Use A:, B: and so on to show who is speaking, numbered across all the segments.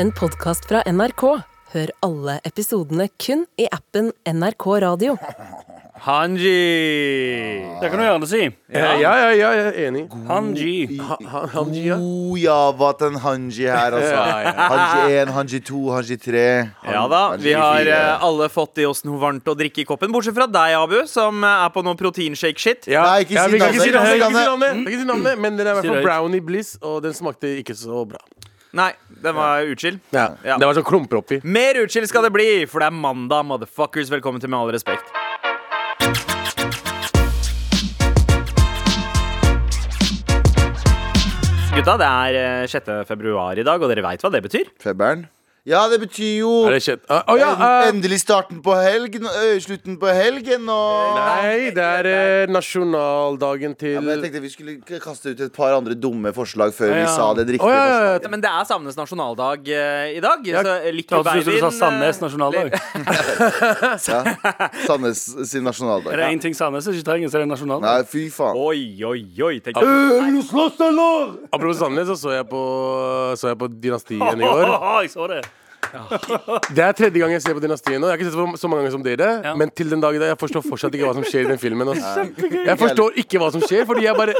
A: en podkast fra NRK. Hør alle episodene kun i appen NRK Radio.
B: Hanji. Det kan du gjerne si.
C: Ja, Eh, ja, ja, ja, jeg er enig.
B: Hanji.
C: Ha- ha- Hanji, ja.
D: Oh, ja, hva til en hanji her, altså. Hanji 1, hanji 2, hanji 3.
E: Ja da, vi har eh,
D: alle
E: alle fått i oss noe varmt å drikke i koppen, bortsett fra deg, Abu, som eh, er på noe proteinshake-shit.
C: Ja,
D: Nei, ikke
C: ja,
D: si
C: vi kan
D: navnet,
C: ikke si
D: ikke
C: navnet,
D: si
C: ikke si
D: navnet.
C: navnet, ikke si navnet, men den er i hvert
B: Si det
C: fall
B: høyt.
C: Brownie Bliss, og den smakte ikke så bra.
E: Nei, den var utskill.
C: Ja,
E: Ja.
C: Det var sånn klumper oppi.
E: Mer utskill skal det bli, for det er mandag, motherfuckers. Velkommen til Med all respekt. Gutta, det er eh, 6. februar i dag, og dere veit hva det betyr?
D: Feberen. Ja, det betyr jo
C: Er det kjent? Å å, ja! eh,
D: endelig starten på helgen, ø, slutten på helgen og
C: nei, det er eh, nasjonaldagen til
D: ja, men Jeg tenkte vi skulle k- kaste ut et par andre dumme forslag før vi
C: Ja.
D: sa det riktige.
C: Å, ja, ja, ja.
D: forslaget.
E: Men det er samenes nasjonaldag eh, i dag.
C: Ja,
E: så lykke
B: Det hørtes ut som du sa
E: Beivin,
B: Sandnes
E: eh,
B: nasjonaldag.
D: Sandnes sin nasjonaldag.
B: Er det én ting Sandnes ikke trenger, så er det
D: Nei,
B: nasjonaldag.
D: fy faen.
E: Oi, oi, oi. Tenk deg
C: Apropos Sandnes, så så jeg på, så jeg på Dynastien i år.
B: Jeg så det.
C: Det er tredje gang jeg ser på Dynastien nå. Jeg har ikke sett det så mange ganger som dere.
B: Ja.
C: Men til den dag i dag, jeg forstår fortsatt ikke hva som skjer i den filmen. ass. Jeg forstår ikke hva som skjer, fordi jeg bare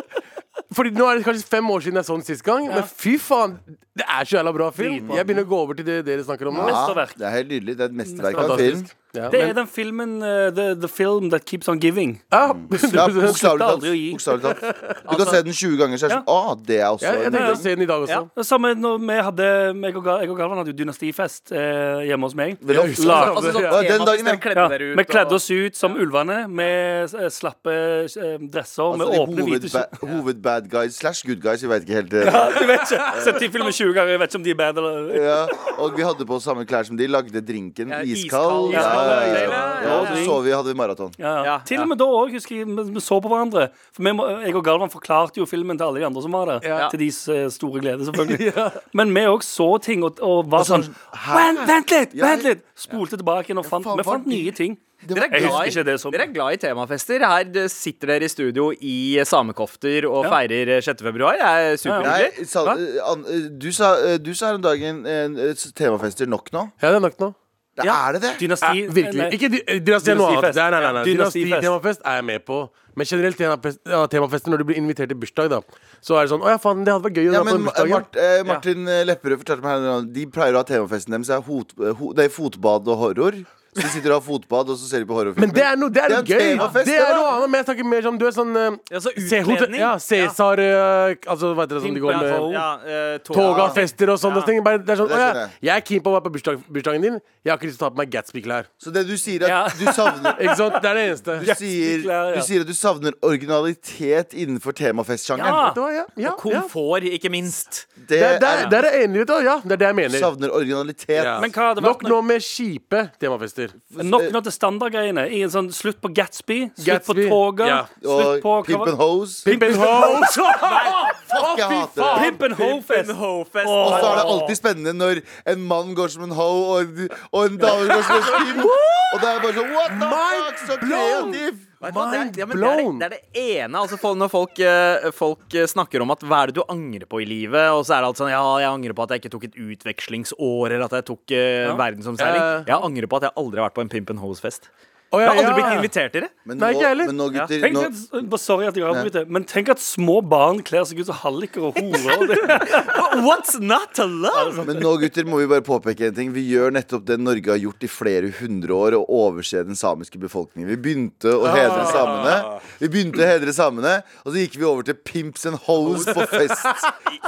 C: Fordi nå er det kanskje fem år siden jeg så den sist gang, men fy faen! Det er så jævla bra film.
B: Dritbra.
C: Jeg begynner å gå over til det dere snakker om nå.
D: Ja,
B: Mesterverk.
D: det er helt nydelig. Det er et mesterverk av en film.
C: Fantastisk. Ja,
B: Det er
C: men-
B: den filmen eh, the, the Film That Keeps On Giving.
C: ja,
D: Mm. Ja,
C: 100%.
D: Bokstavelig
B: slutter
D: talt.
B: aldri å gi.
D: Bokstavelig talt. Du kan se den 20 ganger, så er det sånn Å, det er også
C: Ja, jeg
D: en
C: tenkte å se den i dag også.
B: Det er Samme når vi hadde meg og, Ga- jeg og Galvan hadde jo dynastifest eh, hjemme hos meg.
D: Vel,
C: Jeg husker
B: La-
C: det.
E: Altså, sånn
D: Ja, den
E: tema
D: dagen,
E: dere
D: ja.
E: kledde
B: Ja,
E: dere ut
B: vi
E: og-
B: kledde oss ut som ulvene med eh, slappe eh, dresser.
D: Altså,
B: med
D: de
B: åpne, hvite
D: hovedba hovedbad guys slash good guys, jeg vet ikke helt. eh,
B: skjorter. Du vet ikke. Sett de filmer 20 ganger, jeg vet ikke om de er bedre eller
D: Ja, og vi hadde på oss samme klær som de, lagde drinken
E: Ja,
D: iskald.
E: iskald,
B: iskald,
D: Ja, ja, ja,
B: ja, ja,
D: Ja,
B: ja.
D: og så så vi, hadde vi maraton.
B: ja, ja.
E: Ja,
B: Til
E: ja.
B: og med da òg, husker jeg, vi- vi så på hverandre. For vi må, jeg og Galvan forklarte jo filmen til alle de andre som var der.
C: Ja.
B: Til deres eh, store glede, selvfølgelig. Men vi òg så ting og, og var sånn
D: hæ?
B: Vent, vent litt!
D: Ja,
B: Vent
D: ja.
B: litt! Spolte tilbake igjen og fant,
D: faen,
B: vi
D: var
B: fant
D: de-
B: nye ting.
E: Dere er,
B: Jeg
E: glad
B: husker
E: i,
B: ikke det som-
E: dere er glad i temafester. Her eh, sitter dere i studio i samekofter og
B: Ja.
E: feirer eh, 6. februar. Det er superhyggelig.
D: Nei, sa, eh, an, eh, du, sa, eh, du sa her om dagen eh, eh, temafester nok nå.
C: Ja, det er nok nå.
D: Det
B: Ja.
D: er det det?
B: Dynasti
C: Virkelig. Ikke dy- eh, Dynastien noe annet.
B: Dynastifest.
C: Nei, nei, nei, nei.
B: Ja,
C: Dynasti,
B: dynastifest.
C: temafest er jeg med på. Men generelt temafest, ja, temafester når du blir invitert til bursdag, da. Så er det sånn Å ja, faen, det hadde vært gøy å
D: Ja,
C: dra på
D: men
C: den
D: Ma- eh,
C: bursdagen.
D: Mart, eh, Martin eh, Lepperød fortalte meg her en gang, De pleier å ha temafesten deres. Det er hot, eh, ho, det er fotbad og horror. Så de sitter og har fotbad, og så ser de på horrorfilmer.
C: Men det er noe, det er noe
D: Det er
C: gøy!
D: temafest,
C: Det er
D: da.
C: noe annet, men jeg snakker mer som du er sånn eh,
E: Ja, så
C: se- hotell-
E: utkledning.
C: Ja, Cæsar eh, Altså, hva heter det som de går med?
E: Ja, eh, tog-
C: Togafester og sånne ting. Bare, det er sånn,
D: Det
C: å, ja,
D: skjønner jeg.
C: jeg er keen på å være på bursdag, bursdagen din. Jeg har ikke lyst til å ta på meg Gatsby-klær.
D: Så det du sier, er at du savner
C: Ikke sant? Det er det eneste.
D: du sier,
B: klær, ja.
D: du sier at du savner originalitet innenfor temafestsjangeren.
B: Ja.
C: Vet du hva, ja, ja, ja.
E: Komfort, ikke minst.
D: Det
C: Der, der,
D: er
C: der er jeg enig, vet du. Ja, det er det jeg
D: du
C: mener.
D: savner originalitet.
C: Ja.
B: Men hva hadde vært
C: Nok nå med kjipe temafester.
B: Nok nå til standardgreiene. I en sånn Slutt på Gatsby, slutt på
C: Gatsby,
B: toget.
C: ja.
D: Og
B: Slutt på
D: Pimp and Hose.
C: Pimp and hoes!
D: Fuck, jeg hater det.
B: Pimp and Ho-fest.
E: Ho-fest.
D: Og så er det alltid spennende når en mann går som en ho, og en, og en dame går som en skim. Og det er bare sånn What the
C: Mind
D: fuck, så
C: blown!
D: kreativ!
E: Vet du hva, det er-
C: Mind
E: ja, men det er det-
C: blown.
E: Det er det ene. Altså, for når folk, eh, folk eh, snakker om at hva er det du angrer på i livet, og så er det alt sånn Ja, jeg angrer på at jeg ikke tok et utvekslingsår, eller at jeg tok eh, verdensomseiling.
C: Eh.
E: Jeg angrer på at jeg aldri har vært på en Pimp and Hose-fest.
C: Å,
E: Jeg
C: ja,
E: har aldri blitt
C: ja.
E: invitert til det.
D: Men nå,
C: Nei, ikke heller.
D: men nå gutter
B: Tenk
D: nå,
B: at, bare sorry at jeg avbryter, men tenk at små barn kler seg ut som halliker og horer. Det-
E: What's not to love?
D: men nå gutter må vi bare påpeke en ting. Vi gjør nettopp det Norge har gjort i flere hundre år, å overse den samiske befolkningen. Vi begynte å hedre samene. Vi begynte å hedre samene, og så gikk vi over til pimps and hoes på fest.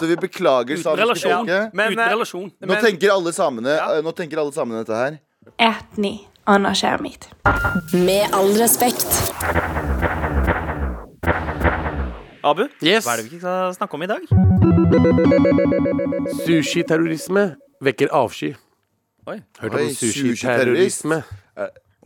D: Så vi beklager samiske
B: relasjon.
D: folket.
E: Men,
B: Uten
E: eh,
B: relasjon.
D: Nå tenker alle samene, eh, nå tenker alle samene dette her.
F: Etni anlaşa mit.
A: Med all respekt.
E: Abu,
C: Yes.
E: hva er det vi ikke skal snakke om i dag?
C: Sushiterrorisme vekker avsky.
E: Oi.
C: Hørte
D: Oi,
C: om sushiterrorisme?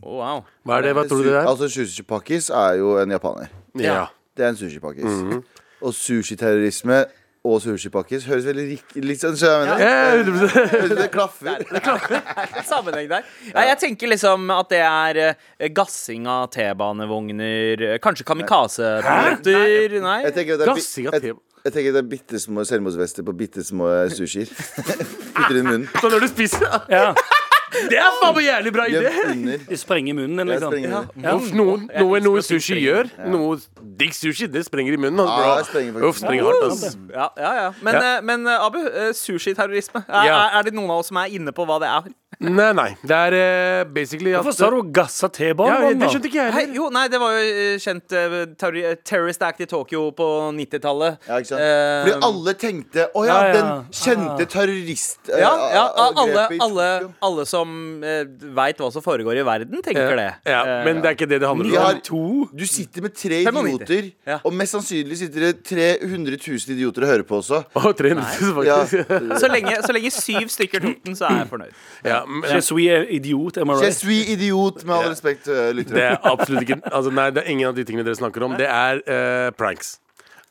E: Oh, wow.
C: Hva er det? Hva tror du det er?
D: Altså, Sushipakkis er jo en japaner.
C: Ja.
D: Det er en sushipakkis.
C: Mhm.
D: Og sushiterrorisme og sushipakkis høres veldig rik litt sånn skjønner jeg hva jeg mener?
C: Ja, 100%.
D: Det klaffer.
E: Sammenheng der. Ja, jeg tenker liksom at det er eh, gassing av T-banevogner, eh, kanskje kamikaze-piloter Nei.
D: Jeg tenker at det er,
C: Gassing av
D: jeg,
C: te-
D: Jeg tenker det er bitte små selvmordsvester på bitte små eh, sushier. Putter det i munnen.
C: Så når du spiser
B: Ja.
C: Det Ah, er faen meg jævlig bra idé!
D: Gjemt under.
B: De sprenger munnen din,
D: Jeg
B: liksom.
D: sprenger under.
C: Uff, noe, noe, noe sushi gjør. Noe digg sushi, det sprenger i munnen.
D: Ja,
C: ass,
D: det sprenger
C: bro.
D: faktisk.
C: Uff, sprenger hardt, altså. ass.
E: Ja, ja, ja. Men,
C: Ja.
E: eh, men eh, Abu, eh, sushiterrorisme. Er,
C: Ja.
E: er, er det noen av oss som er inne på hva det er?
C: Nei, nei. Det er eh, basically at
B: Hvorfor sa du 'gassa
C: ja,
B: T-banen'?
C: Det skjønte ikke jeg
E: Hei,
C: heller.
E: jo, nei, det var jo eh, kjent eh, terror, eh, Terrorist Act i Tokyo på 90-tallet.
D: Ja, ikke sant?
E: Eh,
D: Fordi alle tenkte Å ja,
B: Ja, ja.
D: den kjente terrorist... eh,
E: ja, ja,
D: angrepet
E: alle,
D: i
E: alle,
D: Tokyo.
E: alle som eh, veit hva som foregår i verden, tenker det.
C: Ja,
E: Eh,
C: men det er ikke det det handler
D: Vi
C: om.
D: har-
B: To?
D: Du sitter med tre
E: 95.
D: idioter,
E: Ja.
D: og mest sannsynlig sitter det 300 000 idioter og hører på også.
C: Å, 300
D: Ja.
C: faktisk.
E: så, lenge, så lenge syv stykker tok den, så er jeg fornøyd.
C: Ja, men,
B: Je suis idiot, am I
D: Je
B: right?
D: suis idiot, med all respekt, eh,
C: det
D: lyttere.
C: er absolutt ikke altså, Nei, det er ingen av de tingene dere snakker om. Det er eh, pranks.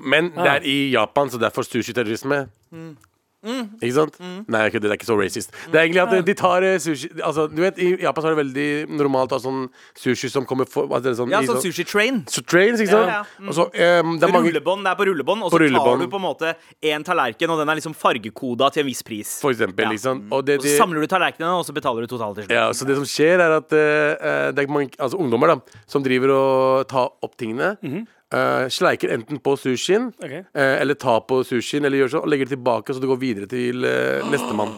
C: Men det er i Japan, så derfor sushiterrorisme.
E: Mm.
C: Ikke sant? Nei, ikke det, det er ikke så racist. Det er egentlig at eh, de tar eh, sushi Altså, du vet, I Japan så er det veldig normalt å ha sånn sushi som kommer for altså, det er sånn,
E: Ja,
C: i
E: sånn sushi train.
C: Så trains, ikke sant?
E: Ja, Mm. ja.
C: Og så, ehm, det er mange
E: Rullebånd, det er på rullebånd, og
C: På
E: så
C: rullebånd.
E: tar du på en måte en tallerken, og den er liksom fargekoda til en viss pris.
C: For eksempel,
E: Ja.
C: ikke sant? Og det,
E: Og
C: de,
E: så samler du tallerkenene, og så betaler du totalt til slutt.
C: ja, så det som skjer, er at eh, eh, det er mange altså, ungdommer da som driver og tar opp tingene. eh, sleiker enten på sushien,
B: Mhm. Ok.
C: eh, eller tar på sushien, eller gjør sånn, og legger det tilbake, så det går videre til eh, nestemann.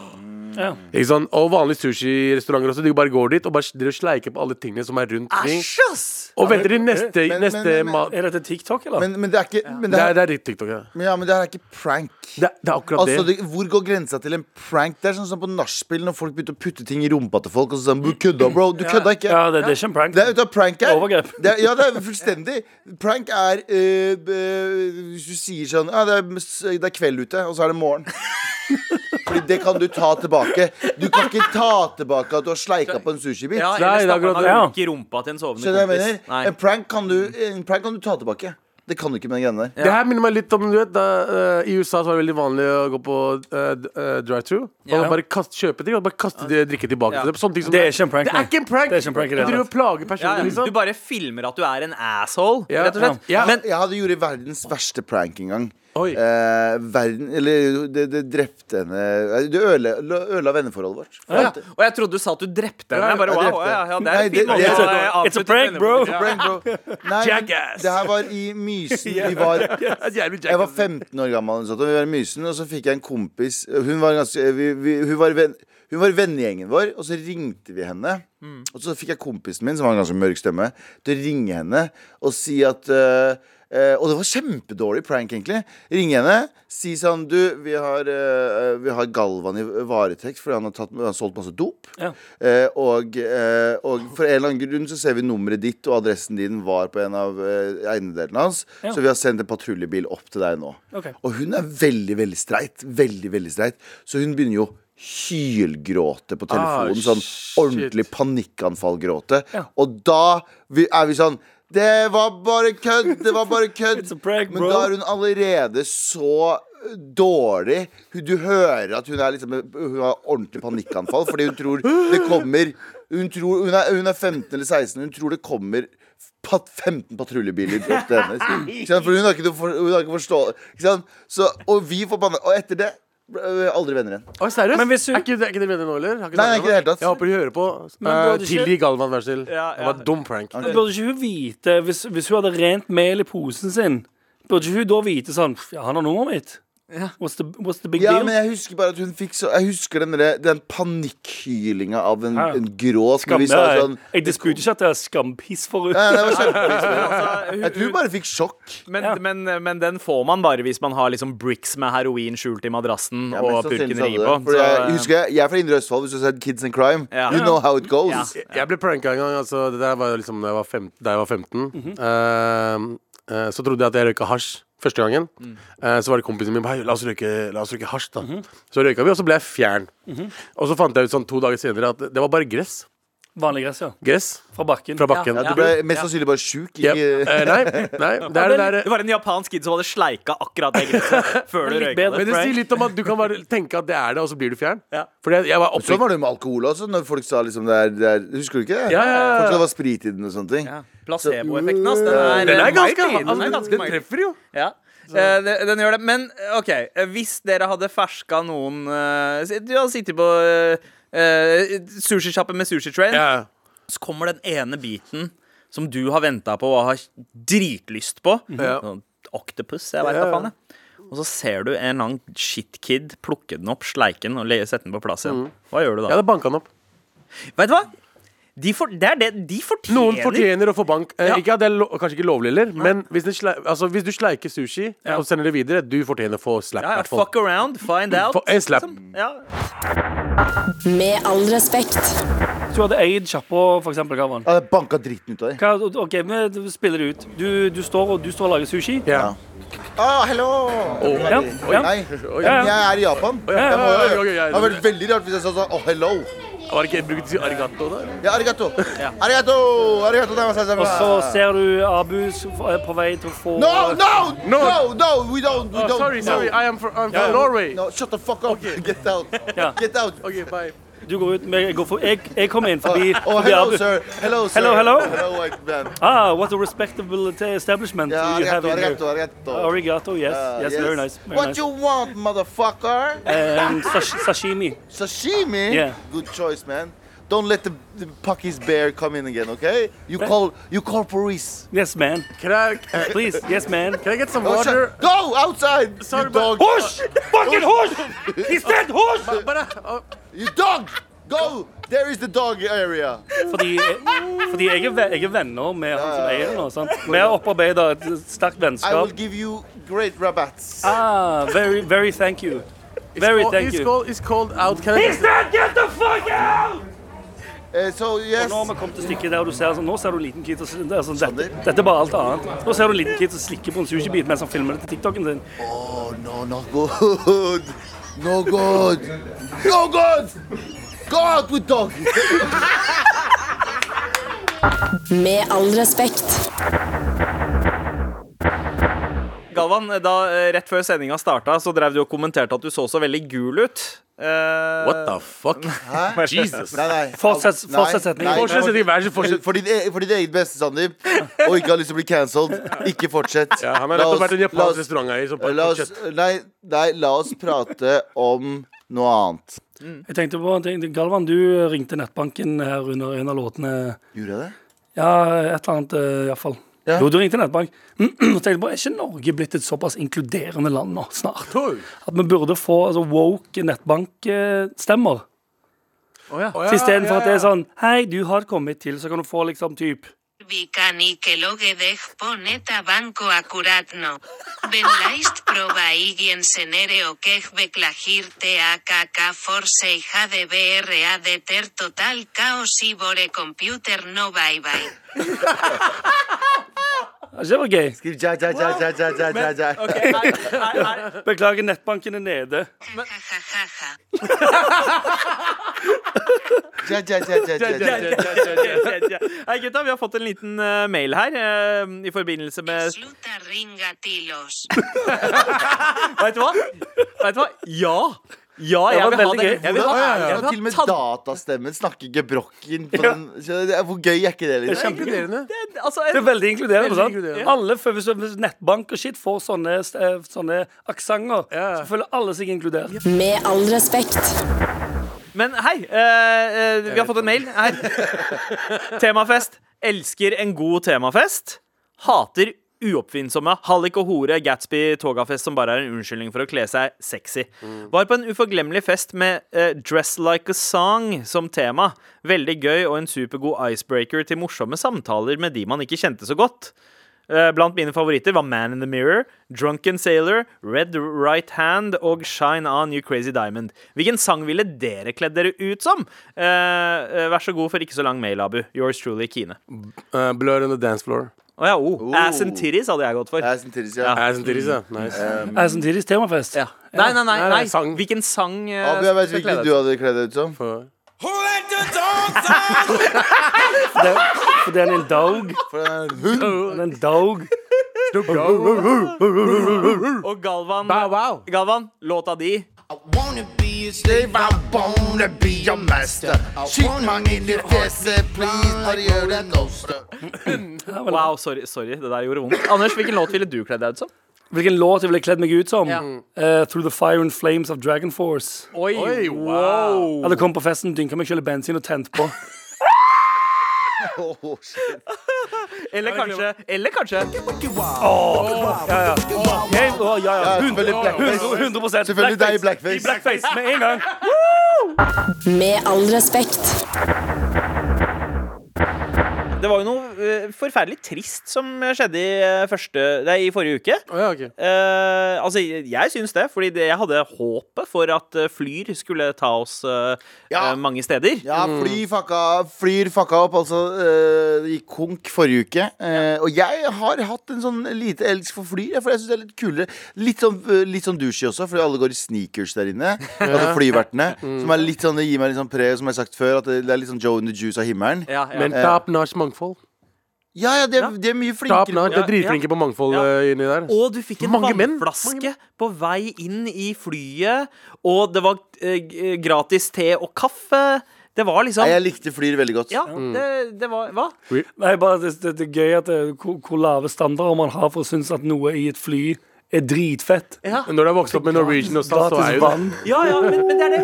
B: Ja.
C: Ikke sant? Og vanlige sushirestauranter også. De bare går dit og bare s- driver og sleiker på alle tingene som er rundt omkring.
E: Æsj, ass!
C: Og venter til neste,
D: men-
C: neste
D: men- men-
C: mat.
B: Er dette TikTok, eller?
D: Men, men det er ikke men det,
C: Det er,
D: er,
C: det er riktig TikTok, ja.
D: men ja, men det her er ikke prank.
C: Det, det er akkurat
D: Altså,
C: det.
D: det, Hvor går grensa til en prank? Det er sånn som på nachspiel, når folk begynte å putte ting i rumpa til folk. Og så sa de, du kødda, bro. Du kødda ikke.
B: ja, det, det er ikke en prank.
D: Det er ut av prank her.
B: Overgrep.
D: Det er, ja, det er fullstendig. Prank er eh, b- Hvis du sier sånn ja, det, er, s- det er kveld ute, og så er det morgen. Fordi det kan du ta tilbake. Du kan ikke ta tilbake at du har sleika på en sushibit.
E: Ja,
C: Nei,
E: ellers
C: det er
E: da kan
C: akkurat
E: man
B: det, ja.
E: runke rumpa til en sovende
D: Skjønner du hva jeg
E: kompis.
D: mener? En prank, kan du, en prank kan du ta tilbake. Det kan du ikke med den greia der.
C: Det her minner meg litt om du vet, da, eh, I USA så var det veldig vanlig å gå på uh, drive-through.
E: Ja.
C: Og bare kast, kjøpe ting og bare kaste det, drikke tilbake.
E: Ja.
C: til dem. Sånne ting som
B: Det er ikke en prank,
C: Det
B: nei.
C: er ikke en prank.
B: Det er ikke en prank i det
C: du driver
B: hele
C: og plager
E: Ja,
C: personer,
E: ja.
C: liksom.
E: Du bare filmer at du er en asshole,
C: Ja.
E: rett og slett.
C: Ja.
E: Men
D: Jeg hadde gjort verdens verste prank en gang.
C: Oi.
D: Eh, verden, eller det, det drepte henne Eh, Det ødela, ødela venneforholdet vårt.
E: ja. Og jeg trodde du sa at du drepte henne. Jeg bare,
D: jeg
E: wow,
D: drepte.
E: ja, ja, det er
D: Nei,
E: en
D: det-
E: fin måte
D: det- sånn-
E: å avslutte
B: It's a prank, bro.
E: vennebåndet.
D: Prank, bro. Nei,
C: Jackass.
D: Det her var i Mysen. Vi var, jeg var 15 år gammel, eller noe sånt, og vi var i Mysen, og så fikk jeg en kompis Hun var, ganske, vi, vi, hun var, venn, hun var vennegjengen vår, og så ringte vi henne. Og så fikk jeg kompisen min, som har en ganske mørk stemme, til å ringe henne og si at eh, eh, og det var kjempedårlig prank, egentlig. Ringe henne, si sånn Du, vi har, eh, vi har Galvan i varetekt fordi han har, tatt, han har solgt masse dop.
B: Ja.
D: Eh, og, eh, og for en eller annen grunn så ser vi nummeret ditt og adressen din var på en av eh, eiendelene hans.
B: Ja.
D: Så vi har sendt en patruljebil opp til deg nå.
B: Ok.
D: Og hun er veldig, veldig streit. Veldig, veldig streit. Så hun begynner jo å hylgråte på telefonen.
C: Ah,
D: sånn
C: shit.
D: ordentlig panikkanfallgråte.
B: Ja.
D: Og da vi- er vi sånn Det var bare kødd! Det var bare kødd!
B: It's a prank,
D: Men
B: bro.
D: da er hun allerede så eh, dårlig. Hun- Du hører at hun, er liksom, hun har ordentlig panikkanfall fordi hun tror det kommer Hun, tror, hun, er, hun er 15 eller 16, hun tror det kommer pat- 15 patruljebiler opp til henne. Ikke sant? For hun har ikke, noe for, hun har ikke forstå ikke sant? Så, Og vi forbanna Og etter det ble vi aldri venner igjen.
C: Oi, seriøst?
B: Men hvis hun-
C: er, ikke, er ikke det venner nå, eller? Har
D: Nei, nei,
C: snakket
D: ikke i det hele tatt.
C: Jeg håper de hører på.
B: Men
C: Eh,
B: burde ikke-
C: Tilgi Galvan, vær så snill.
E: Ja,
C: Det
E: ja.
C: var en dum prank.
D: Ok.
B: Burde ikke hun vite, hvis, hvis hun hadde rent mel i posen sin, burde ikke hun da vite sånn "Pff, ja, 'Han har nummeret mitt'. What's the, what's the big
D: Ja,
B: deal?
D: men jeg husker bare at hun fikk så Jeg husker den, der- den panikkhylinga av en,
B: Ja.
D: en gråt. når
B: Skam,
D: vi sa
B: jeg
D: sånn
B: jeg disputer ikke at det er skampiss for henne.
D: Nei, det var kjempe-
E: Altså, hun-
D: Jeg tror hun bare fikk sjokk.
E: Men,
B: Ja.
E: men, uh, men den får man bare hvis man har liksom bricks med heroin skjult i madrassen
D: Ja, men
E: og
D: så
E: purken
D: synes alle
E: ringer
D: det.
E: på.
D: Fordi
E: Så,
D: jeg, husker jeg, jeg er fra Indre Østfold. Hvis du har sett Kids and Crime,
E: Ja.
D: you know how it goes.
E: Ja.
C: Jeg ble pranka en gang. Altså, det der var liksom da jeg var, fem, da jeg var 15.
E: Mhm.
C: Eh, eh, så trodde jeg at jeg røyka hasj første gangen.
E: Mm.
C: Eh, så var det kompisen min bare, la oss røyke, la oss røyke hasj, da.
E: Mhm.
C: Så røyka vi, og så ble jeg fjern. Og så fant jeg ut sånn to dager senere at det var bare gress.
B: Vanlig gress, ja.
C: Gress
B: Fra bakken.
C: fra bakken.
E: Ja,
D: Du ble mest sannsynlig bare sjuk.
C: Ja.
D: Ikke
C: Eh, nei, nei, det er det der eh,
E: Det var en japansk kid som hadde sleika akkurat det gresset før du
B: litt
E: røyka det.
B: bedre.
C: Men det
B: prank.
C: sier litt om at du kan bare tenke at det er det, og så blir du fjern.
E: Ja.
C: Fordi jeg, jeg var
D: Sånn
C: oppriktig
D: var det jo med alkohol også, når folk sa liksom det er, det er Husker du ikke det?
C: Ja, ja, ja.
D: Folk sa det var sprit i den og sånne ting.
E: Ja. Placeboeffekten, ass. Den er,
C: Den er
E: mighty,
C: ganske,
E: den er ganske
C: den
E: mighty.
C: treffer jo.
E: Ja. Eh, det, den gjør det. Men eh, OK, eh, hvis dere hadde ferska noen eh, si- Du hadde sittet på uh, sushisjappe med sushi train,
C: Ja.
E: så kommer den ene biten som du har venta på og har dritlyst på. Sånn Octopus, jeg veit da
C: Mhm. Ja, ja.
E: faen. jeg. Og så ser du en eller annen shitkid plukke den opp, sleike den og le- sette den på plass igjen.
C: Mhm.
E: Hva gjør du
C: Jeg
E: da?
C: hadde banka han opp.
E: Vet du hva? De for, det er det de fortjener.
C: Noen fortjener å få bank. Eh,
E: Ja.
C: Ikke at det er lo kanskje ikke lovlig heller, men hvis, den slei- altså, hvis du sleiker sushi og sender det videre, du fortjener å få slap.
E: ja, ja,
C: hvertfall.
E: Fuck around, find out. Liksom.
C: Få- en slap.
E: Ja.
A: Med all respekt.
B: Hvis du hadde eid sjappa, for eksempel, Galvan.
D: Jeg hadde banka dritten ut av deg.
B: Hva, OK, vi spiller det ut. Du, du, står, og, du står og lager sushi.
C: Ja.
D: Ah, hello!
B: Ja, ja.
D: Nei,
C: Oi,
B: Ja, ja.
D: jeg er i Japan.
C: ja,
D: Jeg må,
C: ja, ja, ja,
D: det
C: ja, ja.
D: hadde vært veldig rart hvis jeg sa sånn oh, hello.
C: Var det ikke brukt arigato der?
D: Ja, arigato. Arigato! Arigato! daimashita.
B: Og så ser du Abu s- f- er på vei til å få
D: No, no!
C: No.
D: No, no! We don't! We
C: Oh,
D: don't
C: sorry, sorry.
D: No.
C: I am from, I'm from Norway.
D: No, shut the fuck up. Get out.
B: Ja.
D: Get out.
C: Okay, bye.
B: Du går ut med, jeg, går for, jeg, jeg kommer inn
D: Oh,
B: forbi
D: oh,
B: forbi
D: hello,
B: Abu.
D: sir. Hello, sir.
B: Hello, hello.
D: Hello, white man.
B: Ah, what a respectable establishment
D: Yeah,
B: you have
D: arigato,
B: in here.
D: arigato, arigato.
B: Arigato, yes.
D: Uh,
B: yes, very nice. Very
D: what
B: nice.
D: you want, motherfucker?
B: And sash sashimi.
D: Sashimi?
B: Yeah.
D: Good choice, man. Don't let the, the Pakis bear come in again, okay? You
B: Uh,
D: call you call police.
B: Yes, man.
C: Can I, can
B: Please, yes, man.
C: I get some
D: Oh,
C: water?
D: shut- Go outside,
C: Sorry,
D: you
C: but-
D: dog.
B: Hush! Fucking hush! He said hush!
C: But I, oh,
D: You dog! Go! There is the dog area.
B: Fordi, fordi jeg, er, ve- jeg er venner med han som eier det nå. sant? Vi har opparbeida et sterkt
D: I will
B: vennskap.
D: give you great rabbits.
B: Ah, very, very thank you. Very
C: oh,
B: thank
C: it's
B: you.
C: Cold, it's cold out. Can I get
D: Uh, so
B: Og
D: yes.
B: Nå har vi kommet til stykket der du ser sånn, nå ser du en liten kid og sl- det er sånn, dette,
D: Sander?
B: dette er bare alt annet. Nå ser du en liten kid som slikker på en sushibit mens han filmer det til TikToken sin.
D: Oh no, not good. No good. No good. Go out with dog.
A: Med all respekt.
E: Galvan, da, eh, rett før sendinga starta, så drev du og kommenterte at du så så veldig gul ut. Eh,
C: What the fuck?
D: Hæ?
C: Jesus.
D: Nei, nei.
B: Fortsett-
D: Nei,
B: fortsett setningen.
D: nei,
C: Fortsett setningen, vær så snill, fortsett.
D: For ditt, e- for ditt eget beste, Sandeep. Og ikke har lyst til å bli cancelled. Ikke fortsett.
C: Ja, han har
D: La
C: nettopp
D: oss-
C: vært en
D: la
C: japansk
D: oss-
C: restauranteier som
D: La oss, nei, nei, la oss prate om noe annet.
B: Jeg tenkte på, en ting. Galvan, du ringte nettbanken her under en av låtene.
D: Gjorde jeg det?
B: Ja, et eller annet eh, i hvert fall.
D: Ja.
B: Jo, du ringte nettbank. Og tenkte på, er ikke Norge blitt et såpass inkluderende land nå snart? At vi burde få altså, woke nettbankstemmer. Så istedenfor at det er sånn Hei, du har kommet til, så kan du få liksom typ
G: Vicani que loge dej poneta banco acuratno. Ben laist proba igien senere o quej beclagir te akk force y jade bra de ter total caos y bore computer no bye bye.
B: «Ja, Det var gøy.
D: Skriv ja, ja, ja, ja, ja, ja, ja, ja.
B: Beklager, nettbanken er nede.
G: Ja, ja, ja, ja.
D: ja, ja, ja, ja, ja, ja.
E: Hei, gutta, vi har fått en liten eh, mail her eh, i forbindelse med
G: Sluta ringa tilos.
E: Vet du hva? Vet du hva? Ja! Ja,
B: Det
E: jeg
B: var
E: vil ha
B: veldig
E: det.
B: gøy.
E: Jeg vil ha,
D: Hvordan
E: jeg
D: er det
E: vil
D: når
E: ha
D: til og med
E: tann-
D: datastemmen snakker gebrokken på den? Så det er- Hvor gøy er ikke det?
B: Det er
D: Liksom?
B: kjempegøy.
E: Det- altså,
B: Det er veldig inkluderende.
E: Veldig
B: sant?
E: inkluderende.
B: Alle, fø- hvis, hvis nettbank og shit får sånne, st- eh, sånne aksenter, så føler alle seg inkludert.
A: Med all respekt.
E: Men hei, eh, eh, vi har fått en mail her. Temafest. Elsker en god temafest. Hater uoppfinnsomme hallik og hore Gatsby togafest som bare er en unnskyldning for å kle seg sexy. Var på en uforglemmelig fest med eh, Dress Like a Song som tema. Veldig gøy og en supergod icebreaker til morsomme samtaler med de man ikke kjente så godt. Eh, Blant mine favoritter var Man in the Mirror, Drunken Sailor, Red Right Hand og Shine On You Crazy Diamond. Hvilken sang ville dere kledd dere ut som? Eh, eh, vær så god for ikke så lang mail, Abu. Yours truly, Kine. Å
C: Uh, blur on the dance floor.
E: ja, oh. Ass and titties hadde jeg gått for.
D: Jeg er sin tillis, ja.
C: Ass and titties, ja. sånn Nice.
D: Eh,
B: Er samtidig temafest.
E: Ja. Nei, nei, nei.
C: Nei,
E: nei.
C: nei, sang.
E: Hvilken sang eh,
D: Abu, jeg vet
E: skal
D: hvilken
E: kle deg
D: du
E: ut som?
D: hadde kledd deg ut som.
C: For-
B: For det, for det er en dog.
D: For det er en hund.
B: Det er en dog.
E: Og Galvan,
C: Bow Ah, wow.
E: Galvan låta di.
H: wanna be a slave, I wanna be a master. Shoot my in the face, please, but you're the ghost.
B: Ja, vel,
E: Wow, sorry. sorry, Det der gjorde vondt. Anders, hvilken låt ville du kledd deg ut som?
B: Hvilken låt jeg ville kledd meg ut som?
I: Ja.
B: Eh, Through the fire and flames of Dragon Force.
I: Oi,
C: Oi,
I: wow.
B: Jeg hadde kommet på festen, dynka meg selv i bensin og tent på.
D: Åh, Oh, shit.
E: Eller kanskje, eller kanskje
B: Ja, ja, ja,
D: Ja,
B: ja.
D: selvfølgelig blackface.
B: 100, 100
D: Selvfølgelig deg i blackface.
B: I blackface med en gang.
J: Med all respekt.
E: Det var jo noe eh, forferdelig trist som skjedde i, eh, første, nei, i forrige uke.
I: Å, ja, ok.
E: Eh, altså, jeg syns det, fordi det, jeg hadde håpet for at eh, Flyr skulle ta oss eh,
D: Ja.
E: eh, mange steder.
D: Ja, fly fucka, flyr fucka opp. Altså, eh, det gikk konk forrige uke. Eh, og jeg har hatt en sånn lite elsk for fly. For jeg syns det er litt kulere. Litt sånn, eh, litt sånn douchey også, fordi alle går i sneakers der inne. Altså flyvertene. Som er litt sånn, det gir meg litt sånn preg, som jeg har sagt før, at det det er litt sånn Joe in the Juice av himmelen.
E: Ja, Eh, ja.
C: Men top notch mangfold.
D: Ja, ja, de er,
E: Ja.
D: de er mye
C: Top
D: flinkere.
C: notch, Det er dritflinke på mangfold
E: Ja.
C: eh, inni der.
E: og du fikk en
C: Mange menn.
E: vannflaske
C: Mange
E: på vei inn i flyet, og det var eh, g- gratis te og kaffe. Det var liksom
D: Nei, jeg likte flyr veldig godt.
E: Ja, det, det var Hva?
B: Nei, bare det, det, det er gøy at det, hvor, hvor lave standarder man har for å synes at noe i et fly er dritfett.
E: Ja.
C: Men Når du har vokst opp med Norwegian og SAS, så er
B: Gratis
C: jo det
B: vann.
E: Ja, ja, men, men det er det.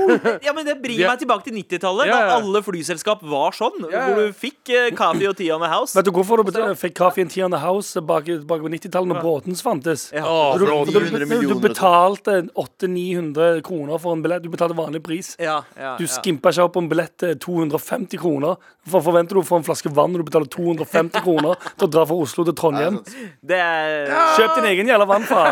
E: Ja, men det bringer
C: Ja.
E: meg tilbake til 90-tallet,
C: Ja, ja.
E: da alle flyselskap var sånn.
C: Ja, ja.
E: Hvor du fikk eh, kaffe og tea on the house.
B: Vet du hvorfor du bet- fikk kaffe i en Tiana House bak, bak på 90-tallet, når båten fantes?
E: Ja.
C: Å,
B: Du,
C: bro,
B: du,
C: altså, du-
D: 900
B: du, du
D: millioner.
B: betalte 800-900 kroner for en billett. Du betalte vanlig pris.
E: Ja, ja,
B: Du
E: ja.
B: skimpa ikke opp på en billett til 250 kroner. Hva forventer du å få en flaske vann når du betaler 250 kroner til å dra fra Oslo til Trondheim?
C: sånn.
E: Det er
B: Kjøp din egen jævla vann,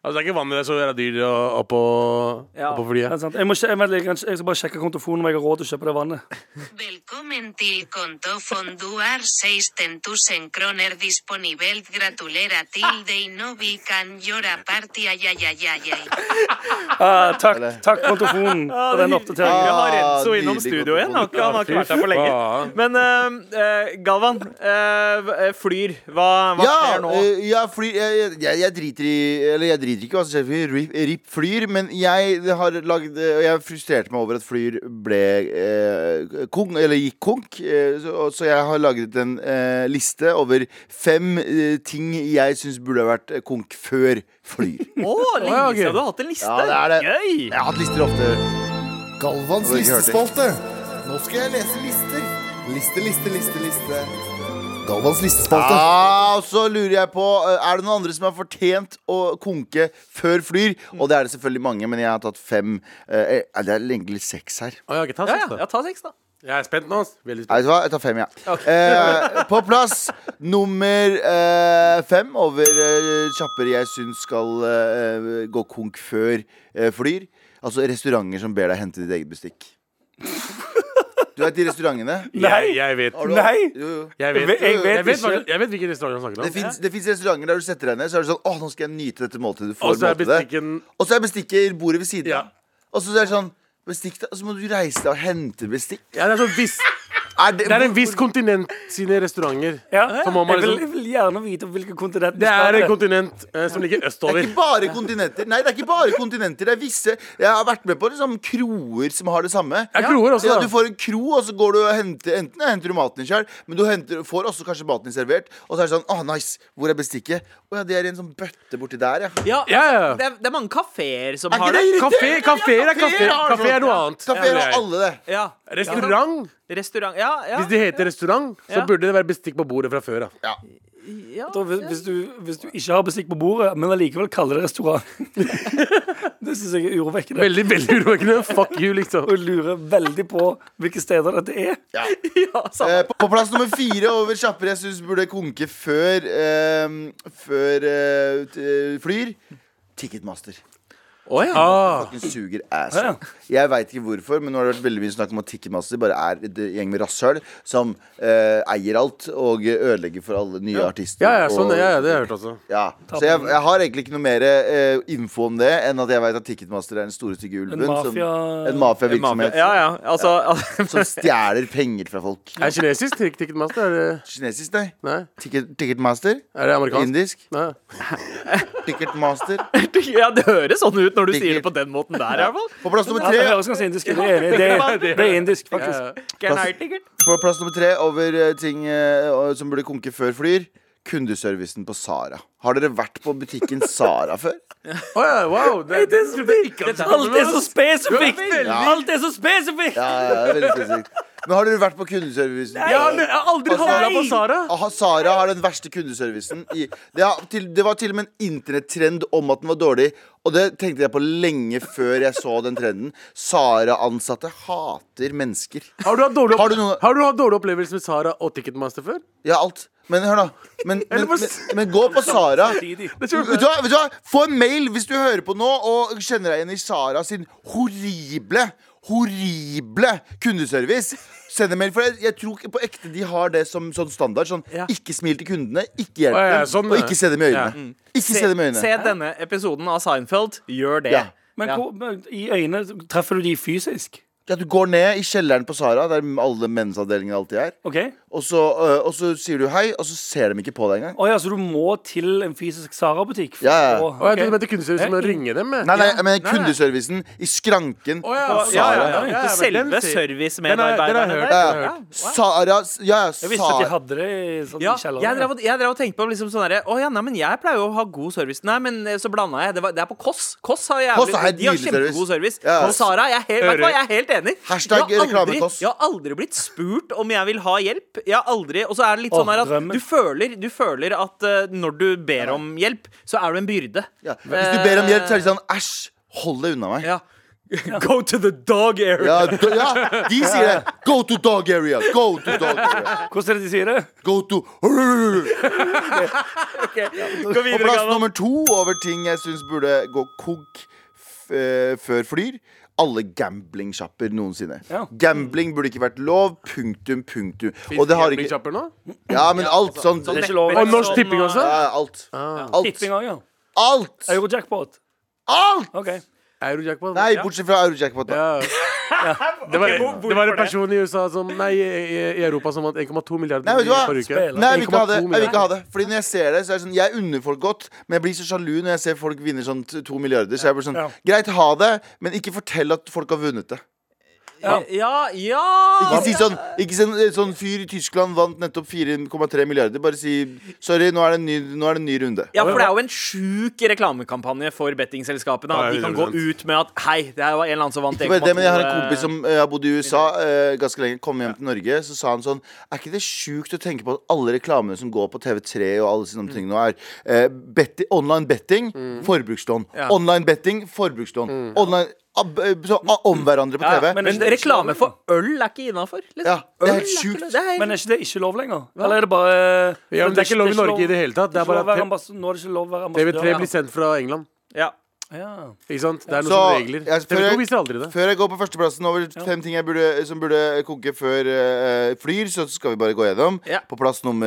C: Altså, det er ikke vann i det, så det er dyrt å- opp på,
E: Ja.
C: opp på
B: Det
C: flyet.
B: er sant. Jeg, må, sj- jeg, vent litt, jeg skal bare sjekke kontofonen om jeg har råd til å kjøpe det vannet.
G: Velkommen til kontofonduar 6 tusen kroner disponibelt gratulera til dei no vi kan gjøre party ajajajajaj.
B: Ah, takk, takk kontofonen for den
E: Vi
B: oppdateringen.
E: har Renzo
D: Ah,
E: innom
D: nydelig
E: studio igjen. Han, han har ikke vært der for
C: faen.
E: lenge. Men eh, eh, Galvan, eh, eh, flyr. Hva, hva skjer nå?
D: eh, ja, flyr jeg, jeg, jeg driter i Eller jeg driter ikke i hva som skjer med flyr. Rip, rip flyr. Men jeg har lagd eh, Og jeg frustrerte meg over at flyr ble eh, kong, eller gikk konk. Eh, så, og- så jeg har laget en eh, liste over fem eh, ting jeg syns burde ha vært eh, konk før flyr.
E: Å, lenge
C: ja, ok.
E: siden du har hatt en liste!
D: Ja, det er det.
E: Gøy!
D: Jeg har hatt lister ofte.
H: Galvans
D: Har du ikke hørt det?
H: listespalte. Nå skal jeg lese lister. Liste, liste, liste, liste. Galvans listespalte.
D: Ah, og så lurer jeg på eh, Er det noen andre som har fortjent å konke før flyr? Og det er det selvfølgelig mange, men jeg har tatt fem. eh, eh, det er egentlig seks her.
C: Å, ja, ok, ta
E: Ja,
C: seks,
E: ja,
C: da.
E: ja, ta seks, da.
C: Jeg er spent nå. ass. Veldig
D: Nei,
C: spent.
D: Vet du hva? Jeg tar fem, jeg. Ja. Eh, på plass nummer eh, fem over eh, kjapper jeg syns skal eh, gå konk før eh, flyr. Altså restauranter som ber deg hente ditt eget bestikk. Du vet de restaurantene?
C: Jeg, jeg vet.
D: Har du-
B: Nei.
D: Jo, jo.
C: Jeg vet,
B: Jeg vet- jeg vet
C: jeg vet,
B: ikke.
C: hva- jeg vet hvilken restaurant han snakker om.
D: Det fins restauranter der du setter deg ned, så er det sånn Å, nå skal jeg nyte dette måltidet. Du får
C: Og så er
D: måltidet.
C: bestikken
D: Og så er bestikket i bordet ved siden
C: Ja.
D: av. Og så er det sånn Bestikk, da. Så må du reise deg og hente bestikk.
C: ja, det, er sånn viss,
D: Er det,
C: det er en viss kontinent sine restauranter.
B: Ja.
C: Så må man
B: Jeg vil,
C: liksom-
B: jeg vil gjerne vite hvilket kontinent vi
C: Det
B: skal
C: er
B: til.
C: en kontinent eh, som ligger
D: det er
C: østover.
D: ikke bare kontinenter. Nei, det er ikke bare kontinenter. Det er visse Jeg har vært med på liksom kroer som har det samme.
C: Ja, kroer også,
D: ja,
C: da.
D: du får en kro, og så går du og henter Enten henter du maten din sjøl, men du henter, får også kanskje maten din servert. Og så er det sånn Å, nice. Hvor er bestikket? Å ja, det er i en sånn bøtte borti der, ja.
E: Ja, altså,
C: Ja, ja.
E: Det, er, det er mange kafeer som
D: Er ikke
E: har
D: det
E: det.
D: irriterende?
C: Kafé, kaféer er kafé.
D: Kaféer har det
C: Kafé er noe annet.
D: Kafeer
C: Ja.
D: har alle det.
E: Ja.
C: Restaurant.
E: Restaurant. Ja, ja.
C: Hvis det heter restaurant, så
E: Ja.
C: burde det være bestikk på bordet fra før av.
E: ja.
B: Da, hvis, hvis, du, hvis du ikke har bestikk på bordet, men allikevel kaller det restaurant Det syns jeg er urovekkende.
C: Veldig veldig urovekkende. Fuck you, liksom.
B: Og jeg lurer veldig på hvilke steder dette er.
E: ja samme.
D: Eh, på- på plass nummer fire over kjappere jeg syns burde konke før eh, Før eh, t- eh, flyr. Ticketmaster.
C: Ah.
D: Fucking suger ass.
B: Ja.
D: Jeg veit ikke hvorfor, men nå har det vært veldig mye snakk om at Ticketmaster bare er et gjeng med rasshøl som eh, eier alt og ødelegger for alle nye artister.
C: Ja, ja, sånn,
D: og-
C: ja, ja, det har jeg hørt også.
D: ja. Så jeg, jeg har egentlig ikke noe mer eh, info om det enn at jeg veit at Ticketmaster er den store stygge ulven.
B: mafia-
D: som, en mafiavirksomhet
E: Ja, ja. Altså,
D: som stjeler penger fra folk.
C: Er det kinesisk Tik- Ticketmaster? Er det,
D: Kinesisk, nei.
C: nei?
D: Ticket, ticketmaster?
C: Er det amerikansk?
D: Indisk?
C: Nei.
D: Ticketmaster.
E: ja, det høres sånn ut når du sier det på den måten der, i hvert fall.
D: På plass nummer
B: Ja, det
D: tre,
B: høres ganske indisk ut. Det er enig. Det, er- det er indisk, faktisk.
E: Can I ticket?
D: på plass nummer tre over eh, ting eh, og- som burde konke før flyr. kundeservicen på Sara. Har dere vært på butikken Sara før?
C: Å ja, wow. Det,
B: Det er så spesifikt. Alt er så spesifikt! Alt er så spesifikt!
D: Ja, ja, det er veldig spesifikt. Men har dere vært på kundeservicen?
B: Jeg har aldri- jeg har aldri handla på Sara.
D: Aha, Sara har den verste kundeservicen. I, det, har til, det var til og med en internettrend om at den var dårlig, og det tenkte jeg på lenge før jeg så den trenden. Sara-ansatte hater mennesker.
C: Har du hatt dårlig, opp
D: Har du noen-
C: har du hatt dårlig opplevelse med Sara og Ticketmaster før?
D: Ja, alt. Men hør, da. Men, men, men, men gå på Sara. Vet du, hva, vet du hva? Få en mail hvis du hører på nå og kjenner deg igjen i Sara sin horrible, horrible kundeservice. Send en mail, for jeg, jeg tror ikke på ekte de har det som sånn standard. Sånn, Ikke smil til kundene, ikke hjelp
C: Å, ja,
D: dem,
C: sånn,
D: og
C: ja.
D: ikke se dem
C: Ja.
D: i
C: Mm.
D: øynene. Ikke se dem i øynene.
E: se denne episoden av Seinfeld. Gjør det.
D: Ja.
B: Men
E: Ja.
B: hvor, men i øynene treffer du de fysisk?
D: Ja, du går ned i kjelleren på Sara, der alle mensavdelingene alltid er,
B: OK?
D: og så, øh, og så sier du hei, og så ser de ikke på deg engang.
B: Å ja, så du må til en fysisk Sara-butikk? for
D: Ja, ja.
B: å-
C: Å, jeg trodde du
B: ok.
C: mente kundeservice som å ringe dem. jeg.
D: Nei, nei, jeg mener
C: Nei, nei.
D: kundeservicen i skranken.
C: Å, ja,
D: på
C: ja, ja,
D: Sara.
C: ja, ja,
E: Det
C: men den
E: selve
C: sier- Den har- den
E: servicemedarbeiderne
C: har jeg hørt,
E: der.
C: den har jeg
D: Ja, Sara Ja, ja,
B: Jeg visste ikke at de
D: Sara
B: hadde det i sånn,
E: Ja,
B: i kjelleren.
E: jeg drev, og- jeg drev og tenkte på liksom sånn derre Å ja, nei, men jeg pleier jo å ha god service. Nei, men eh, så blanda jeg. Det, var, det er på Koss. Koss har jævlig
D: Kåss har helt
E: De har
D: nydelig
E: kjempegod
D: service.
E: service.
D: Ja.
E: Og Sara, jeg er helt, vet du hva, jeg er helt enig.
D: Hashtag
E: Jeg har
D: reklame
E: aldri-
D: Kåss.
E: Jeg har aldri blitt spurt om jeg vil ha hjelp. Jeg har aldri Og så er det litt
B: Åh,
E: sånn her at
B: drømmen.
E: du føler, du føler at eh, når du ber om hjelp, så er du en byrde.
D: ja. Hvis du ber om hjelp, så er de sånn Æsj, hold deg unna meg.
E: Ja. Go to the dog area.
D: Ja, d- ja, de sier det. Go to dog area. Go to dog area.
B: Hvordan er det de sier det?
D: Go to Og
E: Gå videre,
D: plass
E: Galvan.
D: nummer to over ting jeg syns burde gå kok f- eh, før flyr. Alle gambling-sjapper noensinne.
B: Ja.
D: Gambling burde ikke vært lov. Punktum, punktum.
C: Fins
D: Og det har ikke
C: campingkjapper nå?
D: Ja, men alt sånn
B: Det er ikke lov. Ah.
C: Og Norsk Tipping også?
D: Ja, ja, alt. Alt.
B: Tipping òg, ja.
D: Alt!
B: Eurojackpot.
D: Alt!
B: OK.
C: Eurojackpot?
D: Nei, bortsett fra Eurojackpot. da.
C: Ja. Det, var, det var en person i USA som Nei, i, i Europa som vant 1,2 milliarder
D: Nei, vet du hva?
C: forrige uke.
B: Spiller.
D: Nei, jeg vil ikke ha det.
C: 1,2
D: Jeg vil ikke ha det Fordi når jeg ser det, så er det sånn Jeg unner folk godt, men jeg blir så sjalu når jeg ser folk vinner sånn t- to milliarder. Så jeg blir sånn
B: Ja.
D: Greit, ha det, men ikke fortell at folk har vunnet det.
E: Ja, ja!
D: Ikke si sånn Ikke sånn, sånn fyr i Tyskland vant nettopp 4,3 milliarder. Bare si sorry, nå er det en ny, nå er det en ny runde.
E: Ja, for det er jo en sjuk reklamekampanje for bettingselskapene. At de kan gå ut med at 'hei, det her var en eller annen som vant
D: Ikke bare det, men jeg har en
E: 1,2,
D: kompis som eh, har bodd i USA eh, ganske lenge. Kom hjem til Norge, så sa han sånn Er ikke det sjukt å tenke på at alle reklamene som går på TV3 og alle
E: Mm.
D: sånne ting nå, er eh, betti- online betting, forbrukslån. Online betting, forbrukslån. Online ab, eh, Så a- om hverandre på
E: eh,
D: TV.
E: Mm. Men reklame for øl er ikke innafor. liksom.
D: Ja, det
E: Øl
D: er helt sjukt.
E: ikke- det er helt-
B: Men er ikke det ikke lov lenger? Eller er det bare eh,
C: Ja, men det er ikke lov i Norge i det hele tatt. Det er
B: ikke
C: bare
B: lov å være
C: at
B: ambass- Nå er det ikke lov å være
C: TV3
B: ambassadør.
C: blir sendt fra England.
E: ja.
B: Ja.
C: Ikke sant? Det er noen
D: Så,
C: sånne regler.
D: jeg- før
C: TV2
D: jeg-
C: viser aldri det.
D: Før jeg går på førsteplassen over fem ting jeg burde, som burde koke før eh, flyr, så skal vi bare gå gjennom.
E: Ja.
D: På plass nummer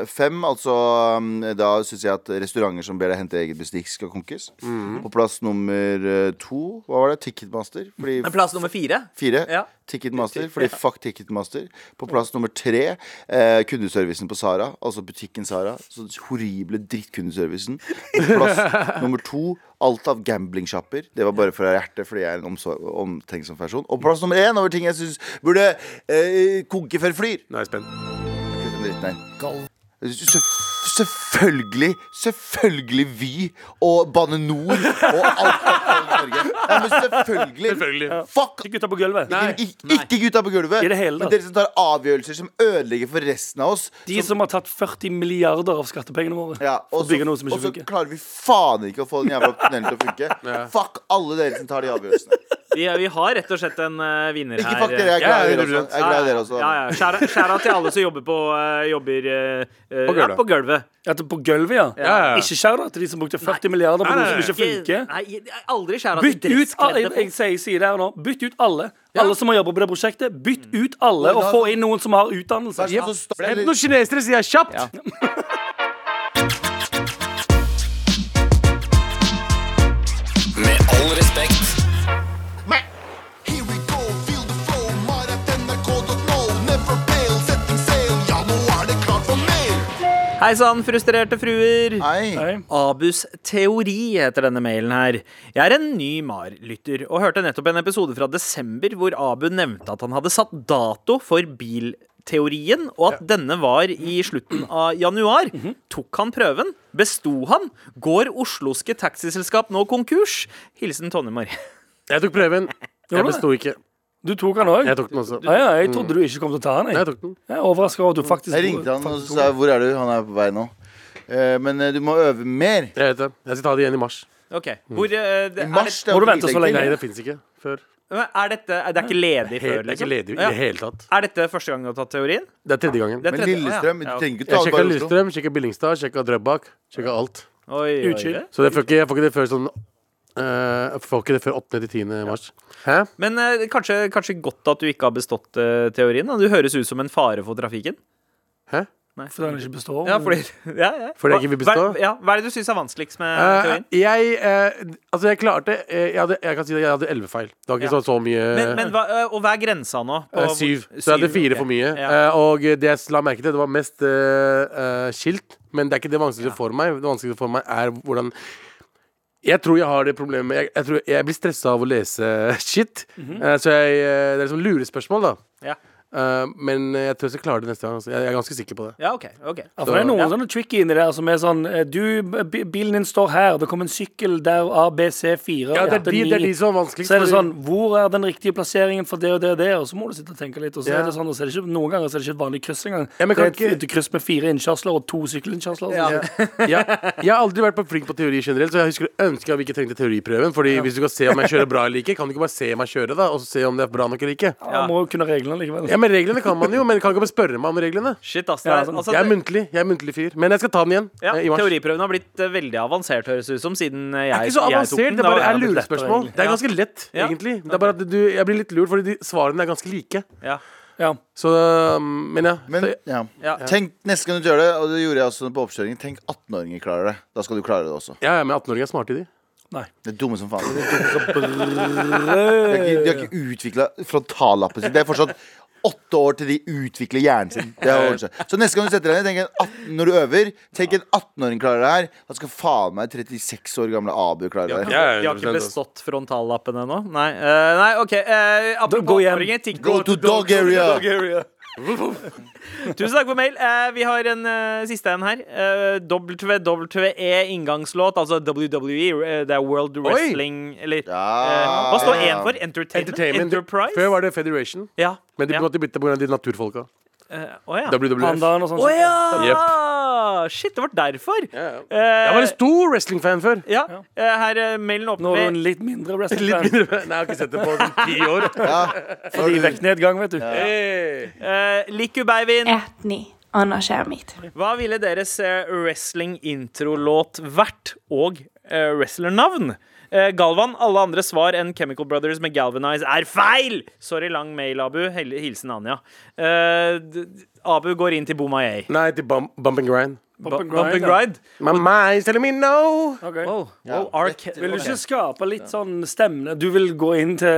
D: eh, fem, altså um, Da syns jeg at restauranter som ber deg hente eget bestikk, skal konkes.
C: Mm.
D: På plass nummer eh, to, hva var det? Ticketmaster. Fordi
E: Men plass nummer fire.
D: Fire.
E: Ja.
D: Ticketmaster, fordi fuck Ticketmaster. På plass nummer tre, eh, kundeservicen på Sara, altså butikken Sara. Så horrible drittkundeservicen. På plass nummer to, alt av gamblingsjapper. Det var bare fra hjertet, fordi jeg er en omsor- omtenksom person. Og plass nummer én over ting jeg syns burde eh, koke før flyr.
C: Nå er jeg spent.
D: Kutt den dritten her. Selvf- Selvfølgelig, selvfølgelig Vy og Bane Nor og alt annet i Norge. Nei, men selvfølgelig.
C: Selvfølgelig.
D: Fuck
B: Ikke gutta på gulvet.
D: ikke, ikke gutta på gulvet,
B: I det hele
D: men
B: tatt.
D: dere som tar avgjørelser som ødelegger for resten av oss.
B: De som har tatt 40 milliarder av skattepengene våre.
D: Ja,
B: for
D: og
B: å
D: så,
B: bygge noe som
D: og
B: ikke
D: så
B: funker.
D: klarer vi faen ikke å få den jævla tunnelen til å funke. Fuck alle dere som tar de avgjørelsene.
E: Vi, vi har rett og slett en eh, vinner
D: Ikke
E: her.
D: fuck dere, jeg er
C: Ja, ja,
D: glad i dere også. Jeg er glad i dere også.
E: Ja, ja. Skjæra- skjæra til alle som jobber på eh, Jobber eh, eh,
C: gulvet.
E: ja, på gulvet.
B: At på gulvet, ja.
C: Ja, ja.
B: Ikke skjær da til de som brukte 40 milliarder på noe som ikke funker.
E: Nei, jeg- aldri skjæra til
B: Bytt ut alle,
E: dresskledde
B: jeg, jeg
E: folk.
B: sier, sier det her nå. Bytt ut alle. Alle som har jobba på det prosjektet, bytt
E: Mm.
B: ut alle og
C: sånn-
B: få inn noen som har utdannelse.
D: Vær så snill, så
C: Hent
D: stopp-
C: noen kinesere, sier jeg kjapt!
I: Med all respekt.
H: Here we go, feel the flow, mar at nrk.no. Never fail, setting sail, ja, nå er det klart for mer.
E: Hei sann, frustrerte fruer.
D: Nei.
B: Nei.
E: Abus teori heter denne mailen her. Jeg er en ny MAR-lytter og hørte nettopp en episode fra desember hvor Abu nevnte at han hadde satt dato for bil teorien og at denne var i slutten av januar.
C: Mhm.
E: Tok han prøven? Besto han? Går osloske taxiselskap nå konkurs? Hilsen Tonje Marie.
C: Jeg tok prøven. Jeg
B: du det?
C: besto ikke.
B: Du tok den òg?
C: Jeg tok den også.
B: Ja, ja, jeg trodde du ikke kom til å ta den. Jeg,
C: Jeg tok den.
B: jeg er overraska over at du faktisk
D: Mm. Jeg ringte han og så sa jeg, hvor er du? Han er på vei nå. Eh, Men eh, du må øve mer.
C: Jeg vet det. Jeg skal ta det igjen i mars.
E: Ok,
C: Mm.
E: hvor, eh, det,
D: I mars
E: er,
D: det
B: Må
D: er
B: du vente så
D: dritlenge
B: lenge?
D: til.
C: Nei, det fins ikke før.
E: det, er dette er Det er ikke ledig
C: Helt,
E: før,
C: det er ikke
E: liksom?
C: ledig i
E: Ja.
C: det hele tatt.
E: Er dette første gang du har tatt teorien?
C: Det er tredje gangen.
E: Det er
D: Men
E: tredje-
D: Lillestrøm,
E: Å, ja.
D: du trenger ikke ta
C: Jeg
D: det
C: sjekka
D: bare i Oslo.
C: Lillestrøm, sjekka Billingstad, sjekka Drøbak. Sjekka alt.
E: Oi, oi, oi.
B: Utskill.
C: Så det får ikke, jeg får ikke det før sånn eh, Jeg får ikke det før 8. til 10. mars. Hæ?
E: Men eh, kanskje, kanskje godt at du ikke har bestått eh, teorien. Da. Du høres ut som en fare for trafikken.
C: Hæ?
B: Fordi han ikke består.
E: Ja, fordi, ja, ja.
C: Mm. Fordi jeg ikke vil bestå?
E: Hva, ja, hva er det du syns er vanskeligst med
C: Eh,
E: teorien?
C: jeg eh, Altså, jeg klarte eh, jeg, hadde, jeg kan si at jeg hadde 11 feil. Det var ikke
E: Ja.
C: så, så mye
E: Men, men hva, eh, og hva er grensa nå? på
C: Eh,
E: hvor-
C: syv. Så jeg hadde fire
E: ok.
C: for mye.
E: Ja.
C: Eh, og det jeg la merke til, det var mest eh, eh, skilt. Men det er ikke det vanskeligste for meg. Det vanskeligste for meg er hvordan Jeg tror jeg har det problemet Jeg, jeg, tror jeg blir stressa av å lese shit.
E: Mhm.
C: Eh, så jeg, eh, det er liksom lurespørsmål, da.
E: Ja.
C: Eh, men jeg tror jeg skal klare det neste gang. Altså. Jeg, jeg er ganske sikker på det.
E: ja, OK. ok
B: Ja, for det er noen
E: Ja.
B: sånne tricky inni der som er sånn eh, Du, b- bilen din står her, det kom en sykkel der A, B, C, 4,
C: Ja, det,
B: 8,
C: er de,
B: 9
C: det er de som er vanskeligst.
B: Så er det
C: fordi-
B: sånn Hvor er den riktige plasseringen for det og det og det? Og så må du sitte og tenke litt. Og så
C: Ja.
B: er det sånn, og så er det ikke, noen ganger så er det ikke et vanlig kryss engang.
C: Ja, men
B: det er
C: kan
B: et,
C: ikke-
B: et kryss med fire innkjørsler og to sykkelinnkjørsler. og sånn.
C: ja, jeg har aldri vært på flink på teori generelt, så jeg husker ønsker jeg vi ikke trengte teoriprøven. Fordi hvis du skal se om jeg kjører bra eller ikke, kan du ikke bare se meg kjøre, da? Og så se om det er bra nok eller ikke.
B: Ja, man må jo kunne reglene likevel.
C: Ja, men reglene kan man jo, men kan ikke bare spørre meg om reglene.
E: Shit, ass. Det
B: Ja,
E: er,
B: sånn.
E: altså,
C: Jeg er
E: det-
C: muntlig, jeg er muntlig fyr. Men jeg skal ta den igjen
E: ja,
C: eh, i mars.
E: teoriprøven har blitt eh, veldig avansert, høres det ut som, siden eh, jeg,
C: Det er ikke så
E: jeg tok
C: avansert,
E: den.
C: det
E: Da
C: bare
E: var
C: er
E: jeg-
C: lurespørsmål. Det er ganske lett,
E: Ja.
C: egentlig. Det er bare at du, jeg blir litt lurt, fordi de svarene er ganske like.
E: Ja.
B: Ja.
C: Så, um, men ja.
D: Men
C: Så-
D: ja.
E: Ja.
D: Tenk neste gang du gjør det, og det gjorde jeg også på oppkjøringen. Tenk 18-åringer klarer det. Da skal du klare det også.
C: ja, ja, men 18-åringer er smarte i de.
D: Det er dumme som faen. De har ikke, de har ikke utvikla frontallappen sin. Det er fortsatt åtte år til de utvikler hjernen sin. Det har ordnet seg. Så neste gang du setter deg ned, tenk en 18, når du øver, tenk en 18-åring klarer det her. Da skal faen meg 36 år gamle Abu klare
C: Ja,
D: det her.
C: ja, altså.
E: De har ikke
C: 100%
E: bestått frontallappen ennå? Nei, eh, nei OK. eh, apropos
B: Gå hjem.
E: oppringning, tikk-
D: Go to dog area.
E: Tusen takk for mail. Eh, vi har en eh, siste en her. Eh, WWE-inngangslåt, altså WWE. eh, det er World Wrestling Eller
D: Ja,
E: eh, Hva står
D: ja.
E: én for? Entertainment?
C: Entertainment.
E: Enterprise?
C: Før var det Federation,
E: Ja.
C: men de
E: ja.
C: måtte bytte pga. de naturfolka.
E: eh, Å ja.
C: WWF.
B: Pandaen og sånn.
E: Å ja! Shit, det var derfor. Eh,
C: Jeg var en stor wrestling-fan før.
E: ja, eh, her er mailen åpen
B: Nå er du en
E: med
B: litt mindre wrestling
C: Litt
B: fan.
C: mindre Nei, jeg har ikke sett det på sånn ti år.
B: Fordi vektnedgang, vet du.
E: eh, Liku Beivin.
F: Etni, Anna Skjermit.
E: Hva ville deres eh, wrestling-introlåt vært, og eh, wrestlernavn? Eh, Galvan, alle andre svar enn Chemical Brothers med Galvanize er feil! Sorry, lang mail, Abu. Hel- Hilsen Anja. Eh, d- d- Abu går inn til Boomaya.
C: Nei, til bump, bump and grind.
E: Bump
B: and
E: and
B: grind,
E: grind? Oh,
C: My mind's telling me no.
B: Ok.
E: Wow, wow, RK
B: Vil du
E: ok.
B: ikke skape litt sånn stemning? Du vil gå inn til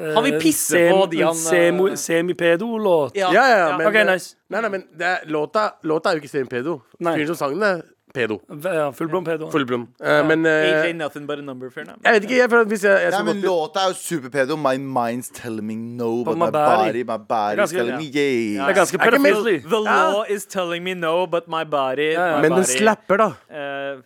B: eh,
E: Han vil pisse på de han,
B: semo-
E: eh,
B: Semipedo-låt?
E: Ja.
C: Ja, ja, men,
B: Ok, nice.
C: Nei, nei, men det er, låta, låta er jo ikke Steven Pedo.
B: Nei.
C: Fyren som sang den, er Pedo.
B: Ja, Fullblom pedo.
C: Full blom. Eh, Men eh,
E: AJ nothing but a number fair now.
C: jeg vet ikke, jeg føler at hvis jeg, jeg
D: Nei,
C: skal
D: men
C: gå til
D: låta er jo superpedo. My mind's telling me no, but
B: my
D: my
B: body.
D: body, my body's
B: Ganske-
D: telling me yeah.
B: Det er ganske
C: Er ikke mer-
B: pedofilslig.
E: The law is telling me no, but my body
B: ja.
E: my
C: Men
E: body,
C: den slapper, da.
E: eh,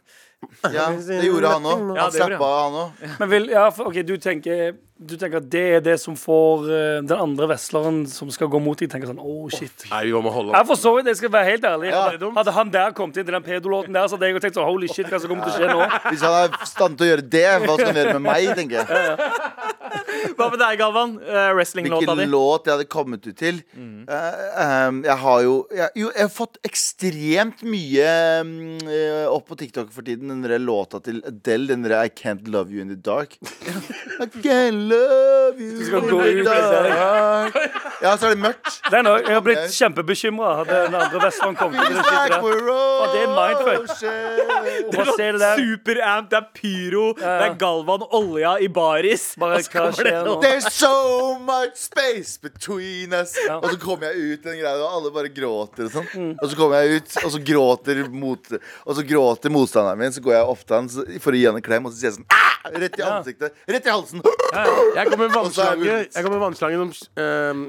D: Ja, det gjorde han òg.
E: Ja,
D: Han
E: det gjorde
D: slappa av, han òg.
B: Men vil, ja, for, ok, du tenker, du tenker at det er det som får eh, den andre vesleren som skal gå mot deg, tenker sånn oh shit.
C: Nei, vi må holde
B: Jeg for så vidt, jeg skal være helt ærlig.
D: Ja.
B: Hadde- Hadde han der kommet inn til den pedolåten der, så hadde jeg jo tenkt sånn holy shit, hva som kommer til å skje nå?
D: Hvis han er i stand til å gjøre det, hva skal han gjøre med meg? tenker jeg
E: Hva med deg, Galvan? Eh, Wrestlinglåta
D: Hvilken
E: di?
D: låt jeg hadde kommet ut til. Eh, ehm, jeg har jo jeg, Jo, jeg har fått ekstremt mye mm, eh, opp på TikTok for tiden. Den der låta til Adele, den der I Can't Love You In The Dark. I can't love you
B: skal
D: in
B: gå
D: the
B: ut i
D: dark. Ja, så er det mørkt.
B: Den òg. Jeg har blitt kjempebekymra hadde den andre vesleren kommet inn til den shit der.
D: Og
B: det er mindfuck.
D: mindfuck.
B: Og bare se det der.
E: Superamp, det er pyro, det er Galvan Olja i baris.
B: Bare
E: og så
B: hva
E: kommer det
B: skjer
E: noe-
B: nå?
D: There's so much space between us. Og så kommer jeg ut, i den greia, der, og alle bare gråter og sånn. Og så kommer jeg ut, og så gråter, mot, og så gråter motstanderen min. Så går jeg opp til han så- for å gi han en klem, og så sier jeg sånn ah! Rett i ansiktet. Rett i halsen.
C: Jeg kom med
D: Og så er vi
C: vannslange
D: ut.
C: Jeg kom med vannslange som, ehm,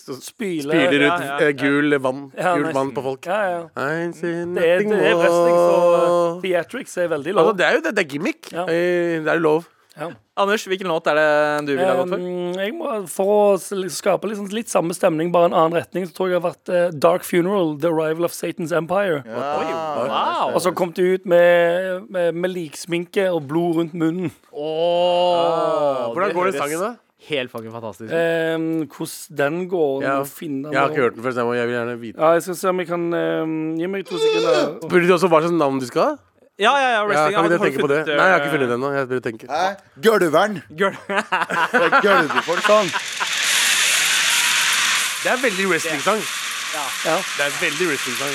C: så
B: Spyle,
C: spyler ut
B: ja, ja,
C: eh, gul vann
B: Ja,
C: Gult
B: nice.
C: vann på folk.
B: Ja, ja.
C: I
B: Det
C: see
B: er,
C: nothing
B: det er wrestling, så
C: more.
B: uh, theatrics er veldig lov.
C: Altså, det er jo det. Det er gimmick.
B: Ja.
C: Eh, Det er jo lov.
E: Anders, hvilken låt er det du ville ha gått for?
B: Um, jeg må, for å s- skape litt, sånn- litt samme stemning, bare en annen retning, så tror jeg det har vært eh, Dark Funeral, The Arrival of Satan's Empire.
E: Wow.
B: Og så kom de ut med, med, med liksminke og blod rundt munnen.
E: Åh,
C: Hvordan går den
E: høres
C: sangen, da?
E: Helt fucking fantastisk. ut.
B: Um, hvordan den går
C: Ja.
B: må finne den
C: Jeg har
B: der.
C: ikke hørt den før, så jeg må- jeg vil gjerne vite.
B: Ja, jeg skal se om jeg kan um, Gi meg to sekunder.
C: Burde du også hva slags navn du skal ha?
E: Ja, ja, ja,
C: Ja,
E: wrestling.
C: kan
E: Har-
C: ikke
E: har
C: dere
E: du
C: tenke på det?
E: funnet,
C: Nei, jeg har
E: eh,
C: ikke funnet den ennå. Jeg burde tenke.
D: Hæ? Gulveren.
E: Girl.
D: Fra Gulvefolk.
B: Sånn.
C: Det er veldig wrestling-sang.
B: Ja.
C: Det er veldig wrestling-sang.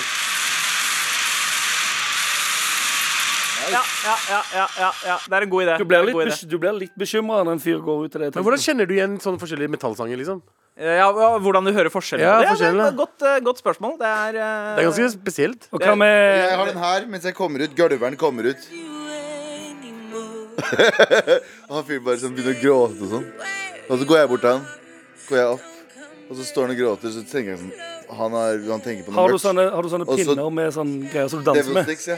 E: Ja, ja, ja, ja, ja, ja. Det er en god idé. Det
B: Du
E: er
B: blir
E: en god
B: litt,
E: idé.
B: bes- du blir litt bekymra når en fyr går ut i det.
C: Men hvordan kjenner du igjen sånne forskjellige metallsanger, liksom?
E: Eh, Ja, ja, hvordan du hører forskjellen.
C: Ja,
E: på det.
C: forskjellen,
E: det er
C: ja.
E: et godt, eh, godt spørsmål. Det er, eh,
C: Det er ganske spesielt.
B: Og hva med
D: Jeg har den her mens jeg kommer ut. Gulveren kommer ut. Og han fyren bare sånn begynner å gråte og sånn. Og så går jeg bort til han. Går jeg opp. Og så står han og gråter, så tenker jeg sånn Han, er, han tenker på noe
B: Har du
D: mørkt.
B: sånne, har du sånne
D: Og så-
B: pinner med sånn greier som du danser
D: Devil
B: med?
D: sticks, ja.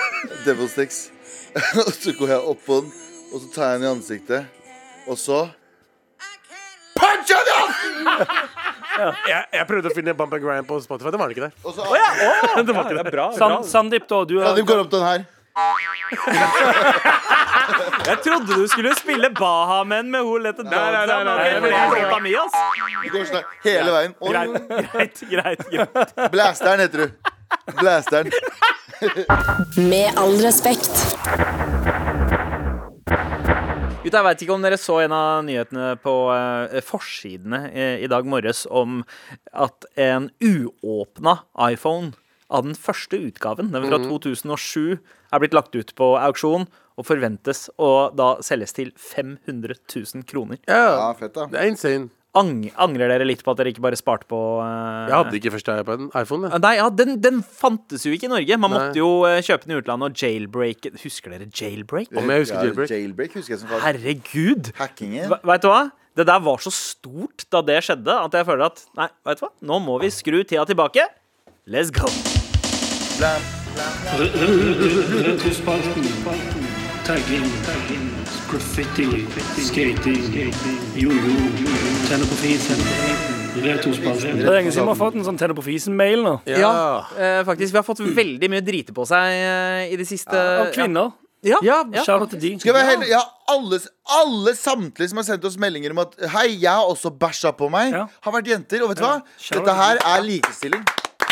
D: Devil sticks. og så går jeg opp på den, og så tar jeg den i ansiktet. Og så Punch han i ansiktet!
C: Jeg, jeg prøvde å finne Bump and Grind på Spotify. Det var den ikke der.
D: Og så ja.
E: det var ikke det. Bra,
B: San, Sandeep, da. Du er,
D: går opp til den her.
E: Jeg trodde du skulle spille Bahamen med Who Let It Down.
C: nei, nei, nei,
E: men det er låta mi, ass.
D: Du går sånn her hele veien.
E: Greit,
D: Og
E: greit, greit, greit.
D: blasteren heter du. Blasteren.
J: Med all respekt.
E: Gutta, jeg vet ikke om dere så en av nyhetene på eh, forsidene eh, i dag morges om at en uåpna iPhone av den første utgaven, den fra 2007, er blitt lagt ut på auksjon og forventes å da selges til 500 000 kroner.
D: Ja,
C: Ja,
D: fett, da.
C: det er insane.
E: Ang angrer dere litt på at dere ikke bare sparte på eh,
C: Jeg hadde ikke første iPod- iPhone. Jeg.
E: Nei, ja, den, den fantes jo ikke i Norge. Man
C: Nei.
E: måtte jo eh, kjøpe den i utlandet og jailbreak Husker dere jailbreak?
C: Om jeg husker
D: Ja,
C: jailbreak.
D: jailbreak husker jeg som faen.
E: Herregud!
D: Hackingen.
E: Ve- Vet du hva? Det der var så stort da det skjedde, at jeg føler at Nei, vet du hva? Nå må vi skru tida tilbake. Let's go!
D: Blam.
B: Retrospalten. Tagging. Graffiti. Skating. Jojo. Tenner på fisen. Retrospalten. Det er lenge siden vi har fått en sånn tenner på fisen-mail nå.
C: Ja.
E: eh, faktisk. Vi har fått veldig mye drite på seg eh, i det siste.
B: Av kvinner.
E: Ja. ja, ja.
B: Shout out til de.
D: Skal jeg være heldig? Ja, alle, alle samtlige som har sendt oss meldinger om at Hei, jeg har også bæsja på meg,
B: Ja.
D: har vært jenter. Og vet du hva?
B: Shout
D: Dette her
B: out.
D: er likestilling.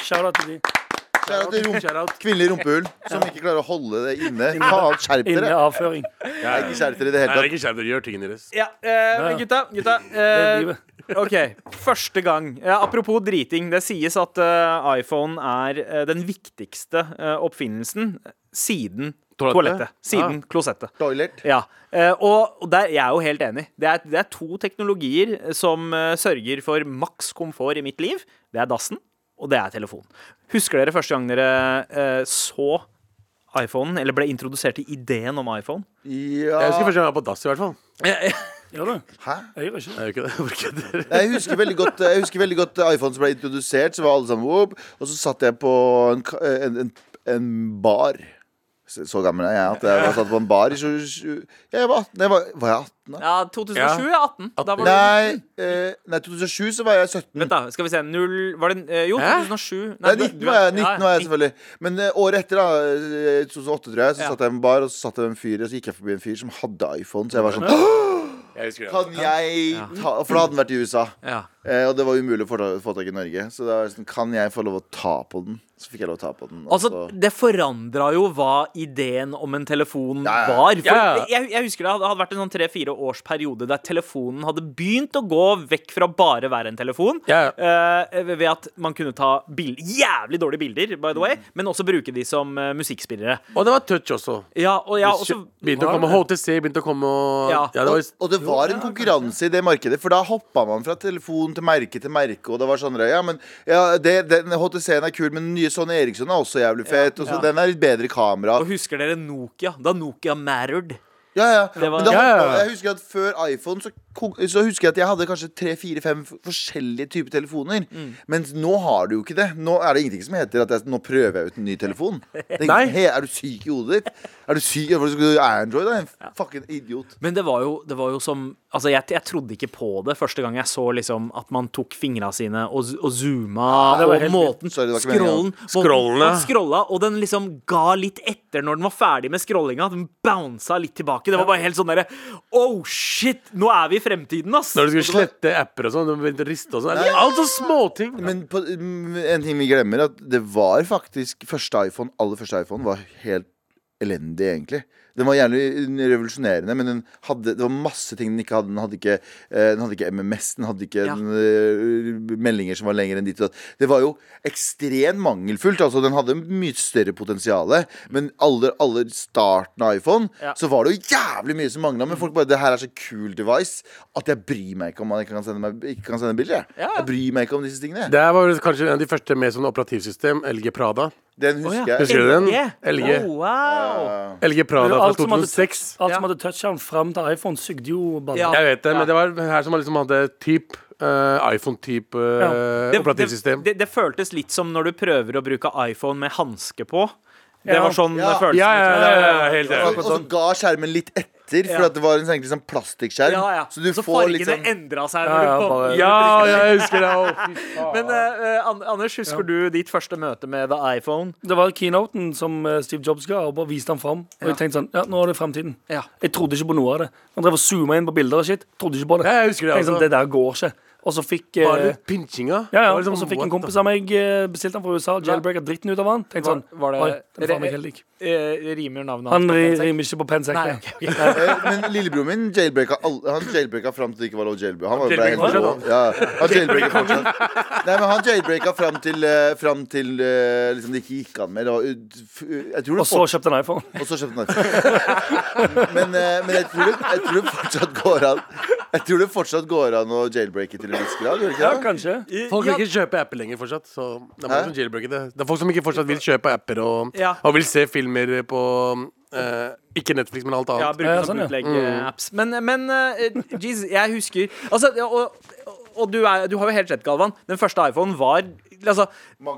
B: Shout out til de.
D: Shout out til rump- Kvinnelig rumpehull som ikke klarer å holde det inne. Faen, skjerp
B: Inne
D: dere.
B: avføring.
D: Nei, ikke skjerp dere i det
C: Nei, det er
D: hele tatt.
C: ikke skjerm, dere gjør tingene deres.
E: Ja, eh, men gutta, gutta
B: er
E: eh,
B: livet.
E: OK. Første gang. Ja, apropos driting. Det sies at eh, iPhone er eh, den viktigste eh, oppfinnelsen siden
C: Toalettet?
E: toalettet. Siden klosettet.
D: Toilet.
E: Ja, eh, og og der, jeg er jo helt enig. Det er, det er to teknologier som eh, sørger for maks komfort i mitt liv. Det er dassen, og det er telefonen. Husker dere første gang dere eh, så iPhonen, eller ble introdusert til ideen om iPhone?
C: Jeg husker
D: Ja.
C: første gang jeg var på dass, i hvert fall.
B: Gjør du?
D: Hæ?
B: Jeg gjør ikke det.
C: Jeg gjør ikke det. Hvorfor kødder dere?
D: Jeg husker veldig godt, jeg husker veldig godt iPhone som ble introdusert, så var alle sammen whoop, Og så satt jeg på en, ka- en, en, en bar. Så så gammel er jeg at jeg var satt på en bar i 27 Jeg var 18. Jeg var, var jeg 18 da?
E: Ja, 2007 ja. 18. Da var det,
D: Nei, eh, nei, 2007 så var jeg 17.
E: vent da, skal vi se. Null Var det eh, Jo, 2007.
D: Nei,
E: du-
D: 19
E: du-
D: var jeg, 19 var jeg
E: ja,
D: selvfølgelig. Men eh, året etter, da, eh, 2008, tror jeg, så
E: Ja.
D: satt jeg på en bar, og så satt jeg med en fyr, og så gikk jeg forbi en fyr som hadde iPhone, så jeg var sånn «Åh,
C: Jeg husker det.
D: Kan jeg ta For da hadde den vært i USA.
E: Ja.
D: Eh, og det var umulig å få ta- få tak i Norge. Så da var jeg sånn, kan jeg få lov å ta på den? Så fikk jeg lov å ta på den. og
E: Altså,
D: så-
E: det forandra jo hva ideen om en telefon
D: Ja, ja.
E: var. For
C: Ja, ja.
E: Jeg, jeg husker det hadde, hadde vært en sånn tre-fire års periode der telefonen hadde begynt å gå vekk fra bare å være en telefon.
C: Ja,
E: eh, ved at man kunne ta bil jævlig dårlige bilder, by the
D: Mm.
E: way, men også bruke de som eh, musikkspillere.
C: Og det var touch også.
E: Ja, og jeg har også
C: Begynte å komme HTC, begynte å komme og
E: Ja.
C: Ja, det var
D: og det var en konkurranse i det markedet, for da hoppa man fra telefon til merke til merke. Og det var sånn Ja, men ja, det, den HTC-en er kul, men den nye Sony Eriksson er også jævlig fet. Og så den er litt bedre kamera.
E: Og husker dere Nokia? Da Nokia mattered.
D: Ja, ja.
E: var-
D: men da
C: Ja, ja,
D: hoppa-
C: ja.
D: Jeg husker at før iPhone så ko- så husker jeg at jeg hadde kanskje tre-fire-fem forskjellige typer telefoner. Mens nå har du jo ikke det. Nå er det ingenting som heter at jeg, nå prøver jeg ut en ny telefon. Det er,
E: Nei.
D: ingenting, «Hei, er du syk i hodet ditt? Er du syk? Hvorfor skal du ha Android? Da? En fucking idiot.
E: Men det var jo, det var jo som Altså, jeg, jeg trodde ikke på det første gang jeg så liksom at man tok fingra sine og, z- og zooma
B: det var
E: og
B: helt-
E: måten
D: Sorry, det var ikke
E: Scrollen.
D: meningen.
E: måten-
C: Scrollen, ja.
E: man scrolla, og den liksom ga litt etter når den var ferdig med scrollinga. Den bounsa litt tilbake. Det var bare helt sånn derre Oh shit! Nå er vi i fremtiden, ass!
C: Når du skulle slette apper og sånn, du begynte å riste og sånn. Eller alt sånne småting.
D: Men på, mm, en ting vi glemmer, at det var faktisk første iPhone, aller første iPhone var helt elendig, egentlig. Den var gjerne revolusjonerende, men den hadde, det var masse ting den ikke hadde. Den hadde ikke, eh, den hadde ikke MMS, den hadde ikke
E: Ja.
D: den, eh, meldinger som var lenger enn dit. og datt. Det var jo ekstremt mangelfullt. altså Den hadde mye større potensial, men aller, aller starten av iPhone
E: Ja.
D: så var det jo jævlig mye som mangla. Men folk bare 'Det her er så cool device at jeg bryr meg ikke om man ikke kan sende, meg, ikke kan sende bilder'. Jeg.
E: Ja, ja.
D: jeg bryr meg ikke om disse tingene. jeg.
C: Det her var vel kanskje en av de første med sånn operativsystem, LG Prada.
D: Den husker
E: Å, ja.
D: jeg.
C: Husker du den?
E: LG.
C: LG.
E: Oh, wow.
C: LG Prada fra
B: Alt som hadde,
C: 2006.
B: alt
E: Ja.
B: som hadde touchskjerm fram til iPhone, sugde jo bare
E: Ja.
C: Jeg vet det, men det var her som liksom hadde typ eh, iPhone-type eh,
E: Det-
C: operativsystem.
E: Det, det, det føltes litt som når du prøver å bruke iPhone med hanske på. Det
B: Ja.
E: var sånn
D: Ja.
E: det føltes.
C: Ja, ja, ja, ja, ja, helt
D: Og
C: enig.
D: så ga skjermen litt etter, for
E: Ja.
D: at det var en egentlig sånn plastikkskjerm.
E: Ja, ja.
D: Så du får
E: fargene
D: litt sånn
E: endra seg.
B: Ja,
E: Når
B: ja,
E: du kom.
B: bare-
C: Ja, jeg husker det. Å, fy faen.
E: Men eh, eh, An- Anders, husker du ditt første møte med The iPhone?
B: Det var keynoten som eh, Steve Jobs ga, og bare viste han fram. Og jeg tenkte sånn, ja, nå er det fremtiden.
E: Ja.
B: Jeg trodde ikke på noe av det. Han drev og zooma inn på bilder og shit. Trodde ikke på det.
C: Ja, jeg husker det,
B: Tenkte sånn,
C: altså.
B: det der går ikke. Og så fikk eh,
C: Bare pinchinga.
B: ja, ja,
C: Det var
B: og
C: liksom,
B: så fikk en
C: what the-
B: kompis av meg eh, bestilt han fra USA, jailbreaka dritten ut av han. Tenkte sånn,
E: Var- var det-
B: oi, den
E: er
B: er faen
E: det-
B: meg helt lik.
E: Eh, rimer navnet
B: Han
E: på
B: ri-
E: pensel?
B: rimer ikke på pensekk.
E: Nei,
B: nei.
E: ok, ok.
D: Eh, Men lillebroren min jailbreaka, all- han jailbreaka fram til det ikke var lov å jailbreake. Han var ble
C: Jailbreaker
D: helt
C: fortsatt,
D: rå. ja, Han jailbreaka fortsatt. Nei, men han jailbreaka fram til, eh, fram til eh, liksom det ikke gikk an mer. Det var ut- f- Jeg tror det
B: Og så kjøpte han iPhone.
D: Og så kjøpte han iPhone. Men, eh, men jeg, tror det, jeg tror det fortsatt går an Jeg tror det fortsatt går an å jailbreake til en viss grad. Gjør det
B: Ja,
D: ikke det?
B: kanskje.
C: Folk vil ikke kjøpe apper lenger fortsatt. Så det er,
D: Hæ?
C: mange som jailbreaker det. det er folk som ikke fortsatt vil kjøpe apper og,
E: Ja.
C: og vil se filmer på eh, Ikke Netflix, men alt
E: Ja,
C: annet.
E: bruker
B: Ja,
E: sånn,
B: sånn, ja.
D: Mm.
E: bootleg-apps. Men, men eh, jeez, jeg husker Altså, ja, og, og du, er, du har jo helt rett, Galvan. Den første iPhonen var Altså,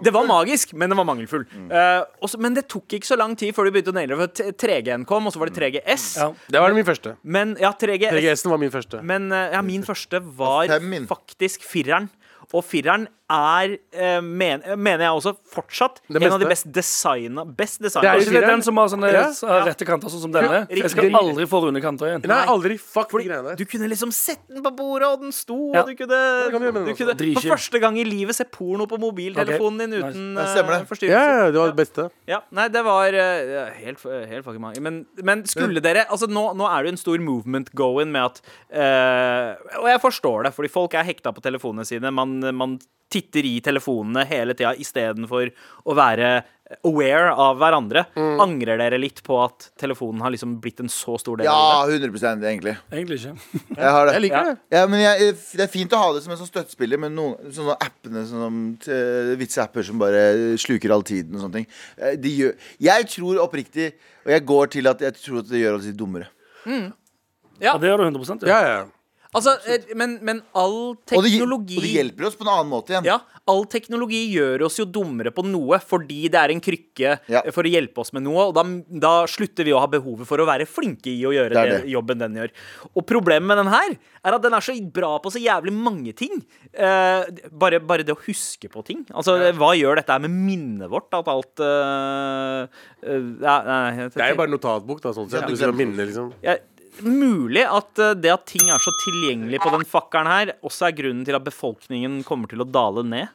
E: det var magisk, men den var mangelfull.
D: Mm.
E: Eh, også, men det tok ikke så lang tid før du begynte å naile det. for t- 3G-en kom, og så var det
D: Mm.
E: 3GS.
B: Ja.
C: Det var min første.
E: Men ja, 3GS.
C: 3GS-en var min første.
E: Men eh, ja, min første var
D: Fem min.
E: faktisk fireren. Og fireren er, eh, men, mener jeg også, fortsatt
C: Det
E: en av de
C: beste.
E: best designa Best
C: Det
E: designa
B: Er
C: er
B: ikke
C: jo
B: det
C: fireren.
B: den som har sånne
C: Ja.
B: s- har rette kanter, sånn som denne?
E: Ja,
B: Jeg skal
E: riktig.
B: aldri få runde kanter igjen.
C: Nei, aldri. Fuck de greiene der.
E: Du kunne liksom sette den på bordet, og den sto,
B: Ja.
E: og du kunne,
C: det kan du gjøre med
E: du
C: den
E: kunne
B: også. Dritkjipt.
E: For første gang i livet se porno på mobiltelefonen din
B: Ok.
E: uten
D: Nice. Ja, stemmer
E: eh,
D: det.
C: Ja,
E: forstyrrelse.
C: ja, det var det beste.
E: Ja, nei, det var eh, helt, helt fucking mange. Men, men skulle dere Altså, nå, nå er det jo en stor movement going med at eh, Og jeg forstår det, fordi folk er hekta på telefonene sine. Man, man titter i telefonene hele tida istedenfor å være aware av hverandre.
D: Mm.
E: Angrer dere litt på at telefonen har liksom blitt en så stor del
D: Ja,
E: av livet?
D: 100 egentlig.
B: Egentlig ikke.
D: Jeg har det.
C: Jeg liker det.
D: Ja, men jeg, Det er fint å ha det som en sånn støttespiller, men noen sånne appene sånn som eh, vitseapper som bare sluker all tiden og sånne ting eh, de gjør, Jeg tror oppriktig, og jeg går til at jeg tror at det gjør oss litt dummere.
B: Ja, det gjør du 100 ja.
C: Ja, ja.
E: Altså, eh, men, men all
D: Og det, og
E: teknologi
D: det hjelper oss på en annen måte igjen.
E: Ja, all teknologi gjør oss jo dummere på noe fordi det er en krykke
D: Ja.
E: eh, for å hjelpe oss med noe, og da, da slutter vi å ha behovet for å være flinke i å gjøre
D: Det er
E: den
D: det.
E: jobben den gjør. Og problemet med den her er at den er så bra på så jævlig mange ting. Eh, bare, bare det å huske på ting. Altså, hva gjør dette her med minnet vårt? At alt eh, eh, ja, nei, jeg-
C: Det er jo bare notatbok, da, sånn sett.
D: Ja.
C: Du skal minne, liksom.
E: jeg, Mulig at eh, det at ting er så tilgjengelig på den fakkeren her, også er grunnen til at befolkningen kommer til å dale ned.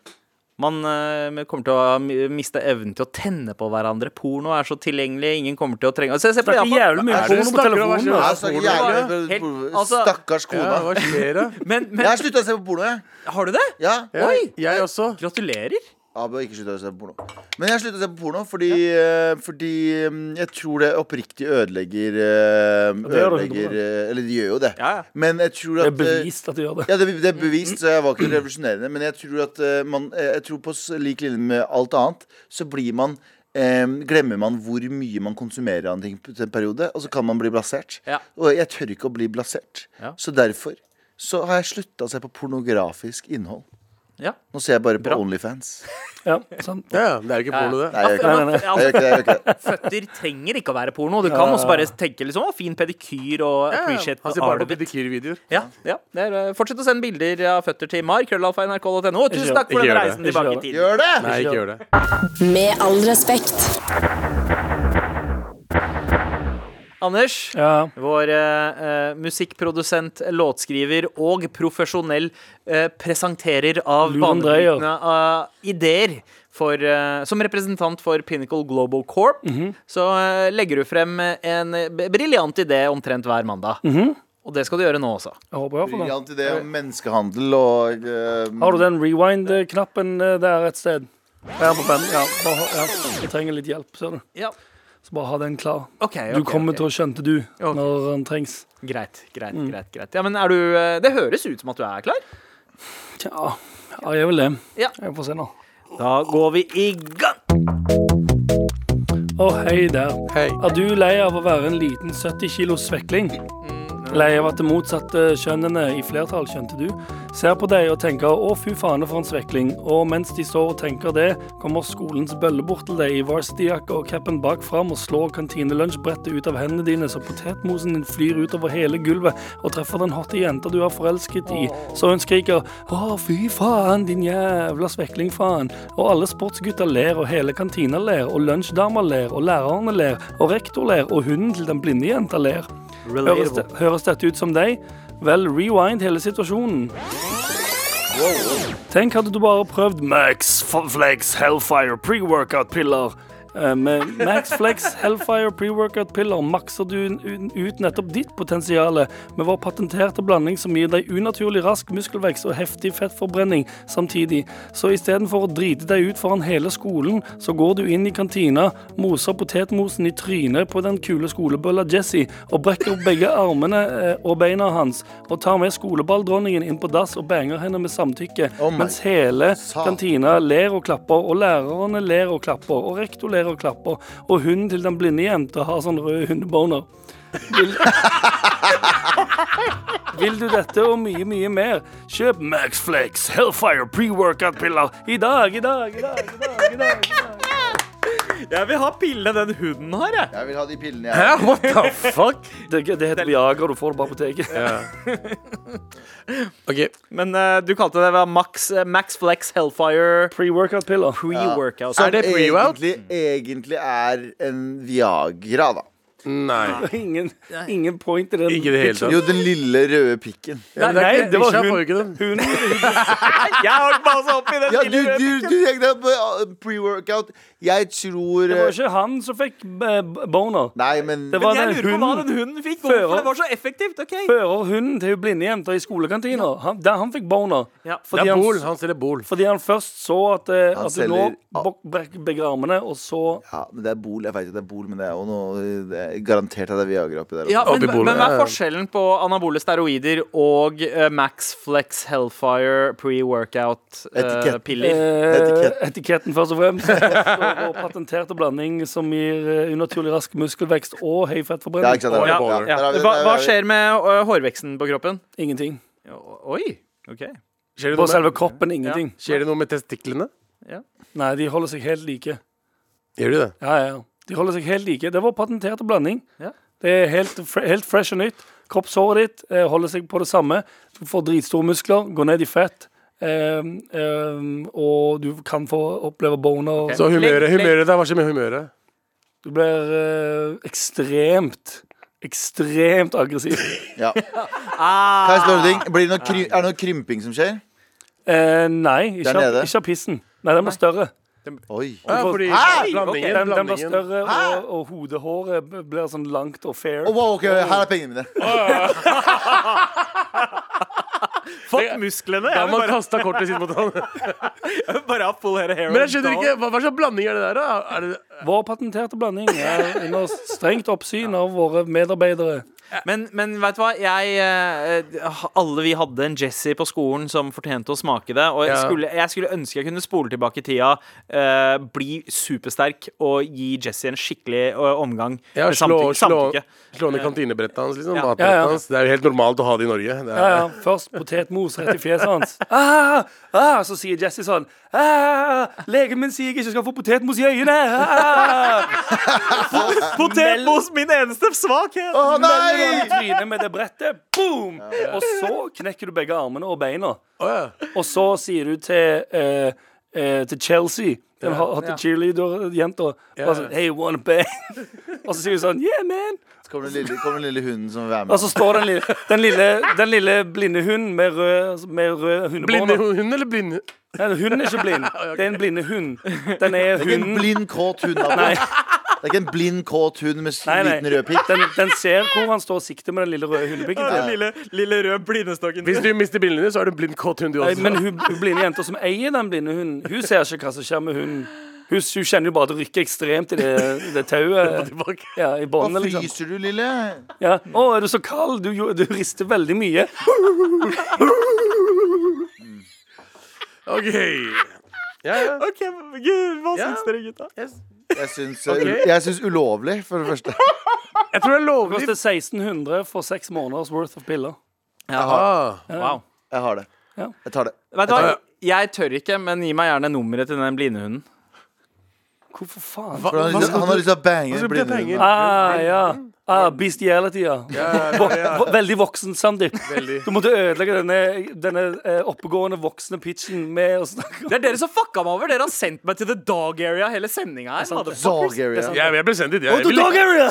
E: Man eh, kommer til å mi- miste evnen til å tenne på hverandre. Porno er så tilgjengelig. Ingen kommer til å trenge Se, se på
B: Det er ikke
E: Japan!
B: jævlig mye
C: Er det
B: porno på
C: snakker om,
B: telefonen.
C: hva
D: Jeg
B: da.
C: skjer?
D: snakker
C: Porno,
D: jævlig
E: ja.
D: for-
E: Helt- altså-
D: Stakkars
C: Ja,
D: kona.
C: hva skjer, da?
E: Men,
D: jeg
E: men
D: har slutta å se på porno, jeg.
E: har du det?
D: Ja.
C: Jeg, jeg også.
E: Gratulerer.
D: Abu har ikke slutta å se på porno. Men jeg har slutta å se på porno fordi, eh, fordi mm, jeg tror det oppriktig ødelegger eh,
B: det gjør det
D: Ødelegger
B: 100%.
D: eh, Eller det gjør jo det.
E: Ja, Mm, ja.
D: Men jeg tror
B: Det
D: at
B: er
D: eh,
B: bevist at du gjør det.
D: Ja, det, det er bevist, så jeg var ikke revolusjonerende. Men jeg tror at eh, man eh, Jeg tror på s- lik linje med alt annet, så blir man eh, glemmer man hvor mye man konsumerer av en ting på en periode, og så kan man bli blasert.
E: Ja.
D: Og jeg tør ikke å bli blasert.
E: Ja.
D: Så derfor så har jeg slutta å se på pornografisk innhold.
E: Ja.
D: Nå ser jeg bare på Onlyfans.
B: Ja, sånn. sant.
C: Ja, det er jo ikke porno, det.
D: Nei, jeg gjør ikke det.
E: Ja,
D: Jeg gjør ikke det, jeg gjør ikke det.
E: Føtter trenger ikke å være porno. Du kan også bare tenke liksom, å, fin pedikyr og appreciate
C: Han ser
E: art
C: bare
E: of
C: på
E: it.
C: pedikyrvideoer.
E: Ja, ja. Det er, eh, fortsett å sende bilder av føtter til mar, krøllalfa, nrk.no. Og tusen
B: gjør-
E: takk for
C: ikke
E: den
C: gjør det.
E: reisen
B: Ikke
E: tilbake
B: gjør
E: i tid.
D: Gjør det!
C: Nei, ikke gjør det.
J: Med all respekt.
E: Anders,
B: Ja.
E: vår eh, eh, musikkprodusent, låtskriver og profesjonell eh, presenterer av
B: Luren dreier.
E: banebrytende eh, ideer for, eh, som representant for Pinnacle Global Corp, så eh, legger du frem en eh, briljant idé omtrent hver mandag. Og det skal du gjøre nå også.
B: Jeg håper i hvert fall det.
D: Briljant idé om menneskehandel og eh,
B: Har du den rewind-knappen eh, der et sted? Her på pennen. Ja, bare, ha- ja. Jeg trenger litt hjelp, ser du.
E: Ja.
B: Så bare ha den klar.
E: Ok, ok,
B: Du kommer
E: ok.
B: til å skjønte du når den trengs.
E: Greit, greit, greit. greit. Ja, men er du, eh, det høres ut som at du er klar.
B: Tja, ja, jeg vil det.
E: Ja.
B: Jeg får se nå.
E: Da går vi i gang.
B: Å, hei der.
C: Hei.
B: Er du lei av å være en liten 70 kilos svekling? Lei av at det motsatte kjønnene i flertall, skjønte du, ser på deg og tenker 'å, fy faen for en svekling', og mens de står og tenker det, kommer skolens bølle bort til deg i varsityjakke og capen bak fram og slår kantinelunsjbrettet ut av hendene dine så potetmosen din flyr utover hele gulvet og treffer den hotte jenta du er forelsket i, så hun skriker 'å, fy faen, din jævla svekling, faen', og alle sportsgutter ler, og hele kantina ler, og lunsjdama ler, og lærerne ler, og rektor ler, og hunden til den blinde jenta ler. Høres, det, høres dette ut som deg? Vel, rewind hele situasjonen. Tenk hadde du bare prøvd Max F- Flex Hellfire pre-workout-piller. Eh, Med Max Flex Hellfire pre-workout-piller makser du un- ut nettopp ditt potensial med vår patenterte blanding som gir deg unaturlig rask muskelvekst og heftig fettforbrenning samtidig. Så istedenfor å drite deg ut foran hele skolen, så går du inn i kantina, moser potetmosen i trynet på den kule skolebølla Jesse og brekker opp begge armene eh, og beina hans og tar med skoleballdronningen inn på dass og banger henne med samtykke,
D: Oh my
B: mens hele
D: Satan.
B: kantina ler og klapper, og lærerne ler og klapper, og rektor ler og klapper, og hunden til den blinde jenta har sånn rød hundeboner. Vil... Vil du dette og mye, mye mer? Kjøp Maxflex Hellfire pre-workout-piller i dag, i dag, i dag, i dag. i dag, i dag.
E: Jeg vil ha pillene den hunden har, jeg.
D: Jeg vil ha de pillene jeg
C: What the fuck?
B: Det, det heter Viagra, du får det på apoteket.
C: Ok,
E: Men eh, du kalte det hva, Max, eh, Max Flex Hellfire
B: Pre-workout-piller.
E: pre-workout.
C: Er det pre-workout?
D: Egentlig, egentlig er en Viagra, da.
C: Nei.
B: Ingen, ingen point i den.
C: Ikke i det hele tatt.
D: Jo, den lille røde pikken.
C: Ja, men
B: Nei,
C: er ikke-
B: det var
C: Isha
B: hun.
C: får jo ikke den.
E: Jeg har masse oppi den
D: Ja, du,
E: lille
D: du, du tenkte på uh, pre-workout. Jeg tror
B: Det var
D: uh,
B: ikke han som fikk eh, b- boner.
D: Nei, men
B: Det var
E: Jeg
B: den
E: lurer på hva
B: hunden.
E: den hunden fikk.
B: Fører.
E: Hvorfor det var så effektivt. ok
B: Fører hunden til hun blinde jenta i skolekantina. Han, der han fikk boner.
E: Ja.
C: Det
B: Fordi,
C: er Bol.
B: han,
C: Han selger Bol.
B: fordi han først så at, eh,
D: Han
B: at du lå
D: selger- Ja.
B: bak- bak begge armene, og så
D: ja, men det er Bol. Jeg vet at det er Bol, men det er jo noe det er Garantert at det er Viagra oppi der.
E: Ja, men,
C: Oppi bordet.
E: men hva er forskjellen på anabole steroider og eh, Max Flex Hellfire pre-workout-piller?
D: Etikett.
B: Eh,
D: Etikett.
B: Etiketten først og fremst. Og og patenterte blanding som gir eh, unaturlig rask muskelvekst og høy
D: Ja, ikke
B: fettforbrenning.
D: sant, der er
E: Ja,
D: vi.
C: ja,
D: der
E: ja.
D: er vi,
E: Hva,
D: der er
E: hva
D: vi.
E: skjer med ø, hårveksten på kroppen?
B: Ingenting.
E: O- Oi. OK.
C: Skjer det
B: På
C: noe med,
B: selve kroppen ingenting.
C: skjer det noe med testiklene?
B: Nei, de holder seg helt like.
C: Gjør de det?
B: Ja, ja, ja. De holder seg helt like. Det var patenterte blanding.
E: Ja.
B: Det er helt, fre- helt fresh og nytt. Kroppshåret ditt eh, holder seg på det samme. Du får dritstore muskler, går ned i fett. ehm, ehm, og du kan få oppleve boner.
C: Så humøret, humøret der, hva skjer med humøret?
B: Du blir eh, ekstremt, ekstremt aggressiv.
D: Ja. Kan jeg spørre deg en ting? Blir det noe kry er det noe krymping som skjer?
B: Eh, nei, ikke
D: Den
B: av,
D: nede?
B: ikke av pissen. Nei, den var større.
D: Oi.
C: Ja, fordi
D: Hæ?
C: blandingen,
B: Den, den var
C: blandingen.
B: større, og, og hodehåret b- blir sånn langt og fair.
D: Å, wow, ok, her er pengene mine.
E: Fuck musklene!
C: Da
E: Jeg
C: har
E: vil
C: man
E: bare,
C: kastet kortet sitt mot han.
E: jeg vil bare ha full hair hair
C: Men
E: and
C: jeg skjønner
E: doll.
C: ikke, hva, hva slags blanding er det der, da? Er det,
B: Vår patenterte blanding er under strengt oppsyn av våre medarbeidere.
E: Men, men vet du hva? Jeg, eh, alle vi hadde en Jesse på skolen som fortjente å smake det. Og jeg
C: Ja.
E: skulle, jeg skulle ønske jeg kunne spole tilbake tida, eh, bli supersterk og gi Jesse en skikkelig eh, omgang.
C: Ja,
E: med
C: slå,
E: samtykke-
C: slå,
E: samtykke. Eh,
C: slå ned kantinebrettet hans, liksom.
E: Ja.
C: Matbrettet
B: Ja, ja.
C: hans. Det er jo helt normalt å ha det i Norge.
B: Ja,
C: Det er,
B: ja. Først potetmos rett i fjeset hans. Ah, ah, så sier Jesse sånn ah, Legen min sier jeg ikke skal få potetmos i øynene. Ah.
E: Eh, Potetmos, min eneste svakhet!
D: Å
B: Melder han i
D: nei!
B: trynet med det brettet. Boom! Og så knekker du begge armene og beina. Og så sier du til, eh, eh, til Chelsea, den ja. hatt cheerleader-jenta, bare sånn Hey, wanna bang? og så sier hun sånn Yeah, man!
D: Så kommer den lille, kommer den lille hunden som vil være
B: Og
D: med.
B: så står den lille, den lille, den lille blinde hunden med rød, med rød
C: Blinde
B: hundebånd.
C: hund eller blinde
B: Nei, hunden er ikke blind. Det er en blinde hund. Den er
D: Det er ikke en
B: hunden
D: blind, kåt hund. Abu.
B: Nei.
D: Det er ikke en blind, kåt hund med s-
B: Nei, nei.
D: liten rød pikk.
B: Den, den ser hvor han står og sikter med den lille røde hundepikken.
E: Den
B: sin.
E: lille, lille røde blindestokken.
C: Hvis du mister brillene, så er du en blind kåt hund, du
B: Nei,
C: også.
B: Men hun, hun blinde jenta som eier den blinde hunden, hun ser ikke hva som skjer med hunden. Hun, hun kjenner jo bare at det rykker ekstremt i det, i det tauet. Ja, i
D: Hva
B: båndet, liksom.
D: fryser du, lille?
B: Ja. Å, er du så kald? Du, jo- du rister veldig mye.
C: OK. Ja, ja.
E: Ok, men Gud, Hva
C: Ja.
E: syns dere, gutta?
D: Jeg syns, eh, jeg syns ulovlig, for det første.
C: Jeg tror det er
B: Det
C: lovlig.
B: koster 1600 for seks måneders worth of piller.
C: Ah.
E: Wow.
D: Jeg har det.
B: Ja.
D: Jeg tar det.
E: Vet du hva? Jeg tør ikke, men gi meg gjerne nummeret til den blinde hunden.
B: Hvorfor faen?
D: For han, har lyst til- han har lyst til å
C: skal
D: bange en
C: du bli
D: blind hund.
C: penger?
B: Ah, ja. Ah, bestiality, ja. Vo- vo- Veldig voksen, Sandeep. Du måtte ødelegge denne, denne eh, oppegående voksne pitchen med å snakke om
E: Det er dere som fucka meg over. Dere har sendt meg til the dog area hele sendinga her.
D: Dog area.
C: Ja, jeg ble sendt dit. Jeg,
D: to
C: vil ikke-
D: dog area!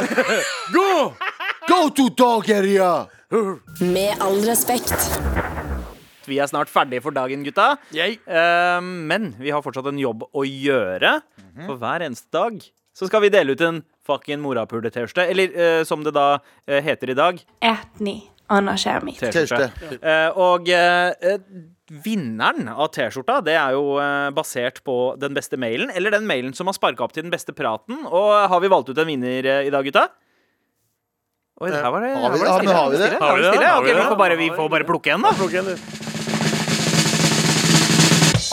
C: Gå!
D: Go to dog area!
J: Med all respekt.
E: Vi er snart ferdige for dagen, gutta.
C: Jeg
E: Eh, men vi har fortsatt en jobb å gjøre.
D: Mhm.
E: For hver eneste dag så skal vi dele ut en fucking morapule-T-skjorte. Eller eh, som det da eh, heter i dag,
F: Ätni, annars är mitt.
E: T-skjorte. Eh, og eh, eh, vinneren av T-skjorta, det er jo eh, basert på den beste mailen. Eller den mailen som har sparka opp til den beste praten. Og har vi valgt ut en vinner eh, i dag, gutta? Oi, her var det, her
D: Eh, Har vi-
E: var det
D: ja, men
E: stille.
D: har vi
E: Stille,
D: det?
E: Her var det
C: Har vi det?
E: stille.
C: Har
E: Ok,
C: vi det?
E: vi får bare, vi får bare plukke en, da.
C: plukker en, du.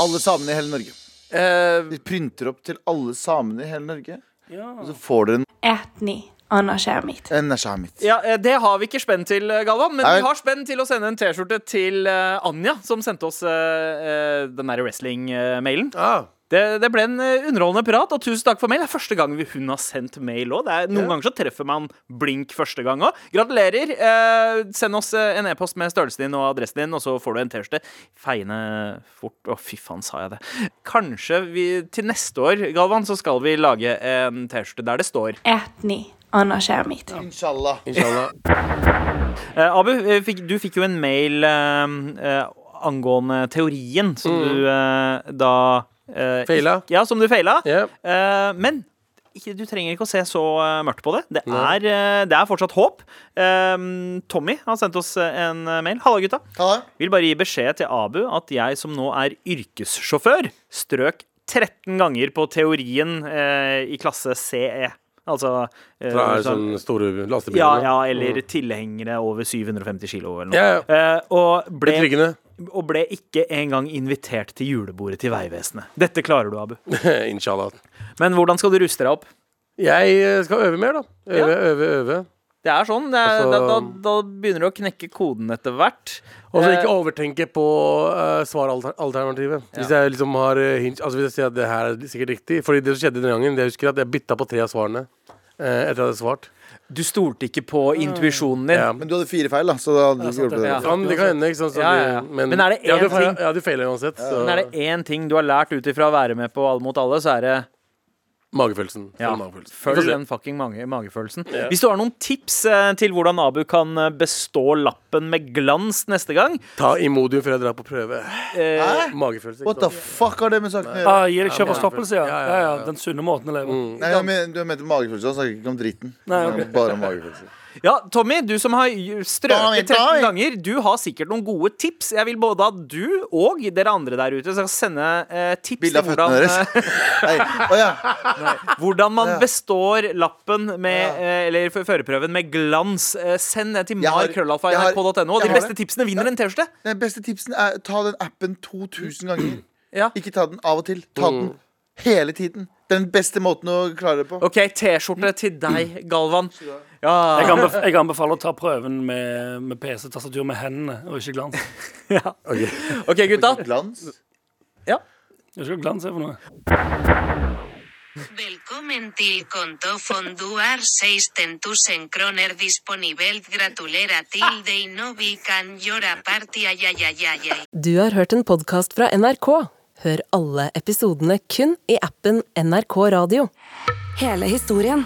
D: Alle samene i hele Norge.
E: Eh,
D: Vi printer opp til alle samene i hele Norge.
B: Ja.
D: Og så får dere en,
F: Ätni, annars är mitt.
D: en shamit.
E: Ja, eh, Det har vi ikke spenn til, eh, Galvan, men
D: Nei,
E: vi
D: vel.
E: har spenn til å sende en T-skjorte til eh, Anja, som sendte oss eh, eh, den der wrestling-mailen.
C: Ah.
E: Det, det ble en eh, underholdende prat, og tusen takk for mail. Det er første gang vi- hun har sendt mail òg. Noen ganger så treffer man blink første gang òg. Gratulerer. Eh, send oss eh, en e-post med størrelsen din og adressen din, og så får du en T-skjorte. Feiende fort. Å, fy faen, sa jeg det. Kanskje vi til neste år, Galvan, så skal vi lage en T-skjorte der det står
F: Ätni, annars är mitt.
D: Inshallah.
C: Inshallah.
E: Eh, Abu, eh, fikk, du fikk jo en mail eh, eh, angående teorien som du eh, da eh,
C: Feila.
E: Ja, som du feila.
C: Ja.
E: Eh, men ikke, du trenger ikke å se så eh, mørkt på det. Det er, eh, det er fortsatt håp. Eh, Tommy har sendt oss eh, en eh, mail. Halla, gutta.
D: Ha det.
E: Vil bare gi beskjed til Abu at jeg som nå er yrkessjåfør, strøk 13 ganger på teorien eh, i klasse CE. Altså eh,
C: Fra
E: sånn-
C: sånn store lastebiler.
E: ja, ja, eller tilhengere over 750 kilo eller noe.
C: Ja,
E: Eh, og, ble,
C: Betryggende.
E: og ble ikke engang invitert til julebordet til Vegvesenet. Dette klarer du, Abu.
C: Inshallah.
E: Men hvordan skal du ruste deg opp?
C: Jeg eh, skal øve mer, da. Øve, øve, øve.
E: Det er sånn. Det er,
C: Altså-
E: da, da, da begynner du å knekke koden etter hvert.
C: Og så
E: Eh,
C: Altså, ikke overtenke på uh, svaralternativet. Hvis jeg liksom har eh, hint, altså hvis jeg sier at det her er sikkert riktig Fordi det som skjedde den gangen, det jeg husker at jeg bytta på tre av svarene. eh, etter at jeg hadde svart.
E: Du stolte ikke på intuisjonen din.
C: Ja.
D: Men du hadde fire feil, da. Så da hadde du ikke hjulpet
E: Ja.
D: det.
C: Kan, det kan hende, ikke sant. så
E: Ja, ja, ja.
C: det-
E: Men er det
C: jeg hadde
E: én
C: feil-
E: ting-
C: Jeg hadde feila uansett. Så
E: Men er det én ting du har lært ut ifra å være med på Alle mot alle, så er det
C: magefølelsen.
E: ja,
C: Følg magefølelsen. Vi
E: følg
C: får se.
E: den fucking mage, magefølelsen. Hvis du har noen tips eh, til hvordan Abu kan eh, bestå lappen med glans neste gang,
C: Ta Imodium før jeg drar på prøve.
E: eh,
C: Magefølelse.
D: What the fuck har det med saken å gjøre?
B: ah, Gi deg kjøperstoppelse, ja.
C: Ja, ja,
B: Ja, Mm.
C: ja.
B: ja. Den sunne måten å leve på.
D: Nei, jeg men, Du mente magefølelse, han snakker ikke om dritten.
B: Nei,
D: Han snakker Bare om magefølelse.
E: Ja, Tommy, du som har
D: Tommy,
E: strøket 13
D: Tommy.
E: ganger, du har sikkert noen gode tips. Jeg vil både at du og dere andre der ute skal sende eh, tips
D: Bilde av
E: til
D: føttene deres.
E: eh,
D: Nei. Å ja.
E: hvordan man
D: Ja.
E: består lappen med,
D: Ja.
E: eh, eller f- førerprøven med glans. Eh, Send det til
D: Jeg har- jeg har-
E: markrøllalfa.nrk.no, og
D: jeg
E: de
D: har
E: beste
D: det.
E: tipsene vinner en T-skjorte.
D: Den beste tipsen er ta den appen 2000 ganger.
E: Ja.
D: Ikke ta den av og til. Ta den hele tiden. Det er Den beste måten å klare det på.
E: OK, T-skjorte til deg, Galvan.
B: Jeg,
E: Ja.
B: anbef jeg anbefaler å ta prøven med, med PC-tastatur med hendene og ikke glans.
E: OK, gutta.
D: Glans.
B: Jeg skal glanse for noe.
G: Velkommen til konto fonduar 6000 kroner disponibelt gratulera til dei no vi kan gjøre party ajajajajaj.
A: Du har hørt en podkast fra NRK. Hør alle episodene kun i appen NRK Radio.
J: Hele historien.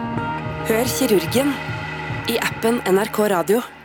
J: Hør kirurgen i appen NRK Radio.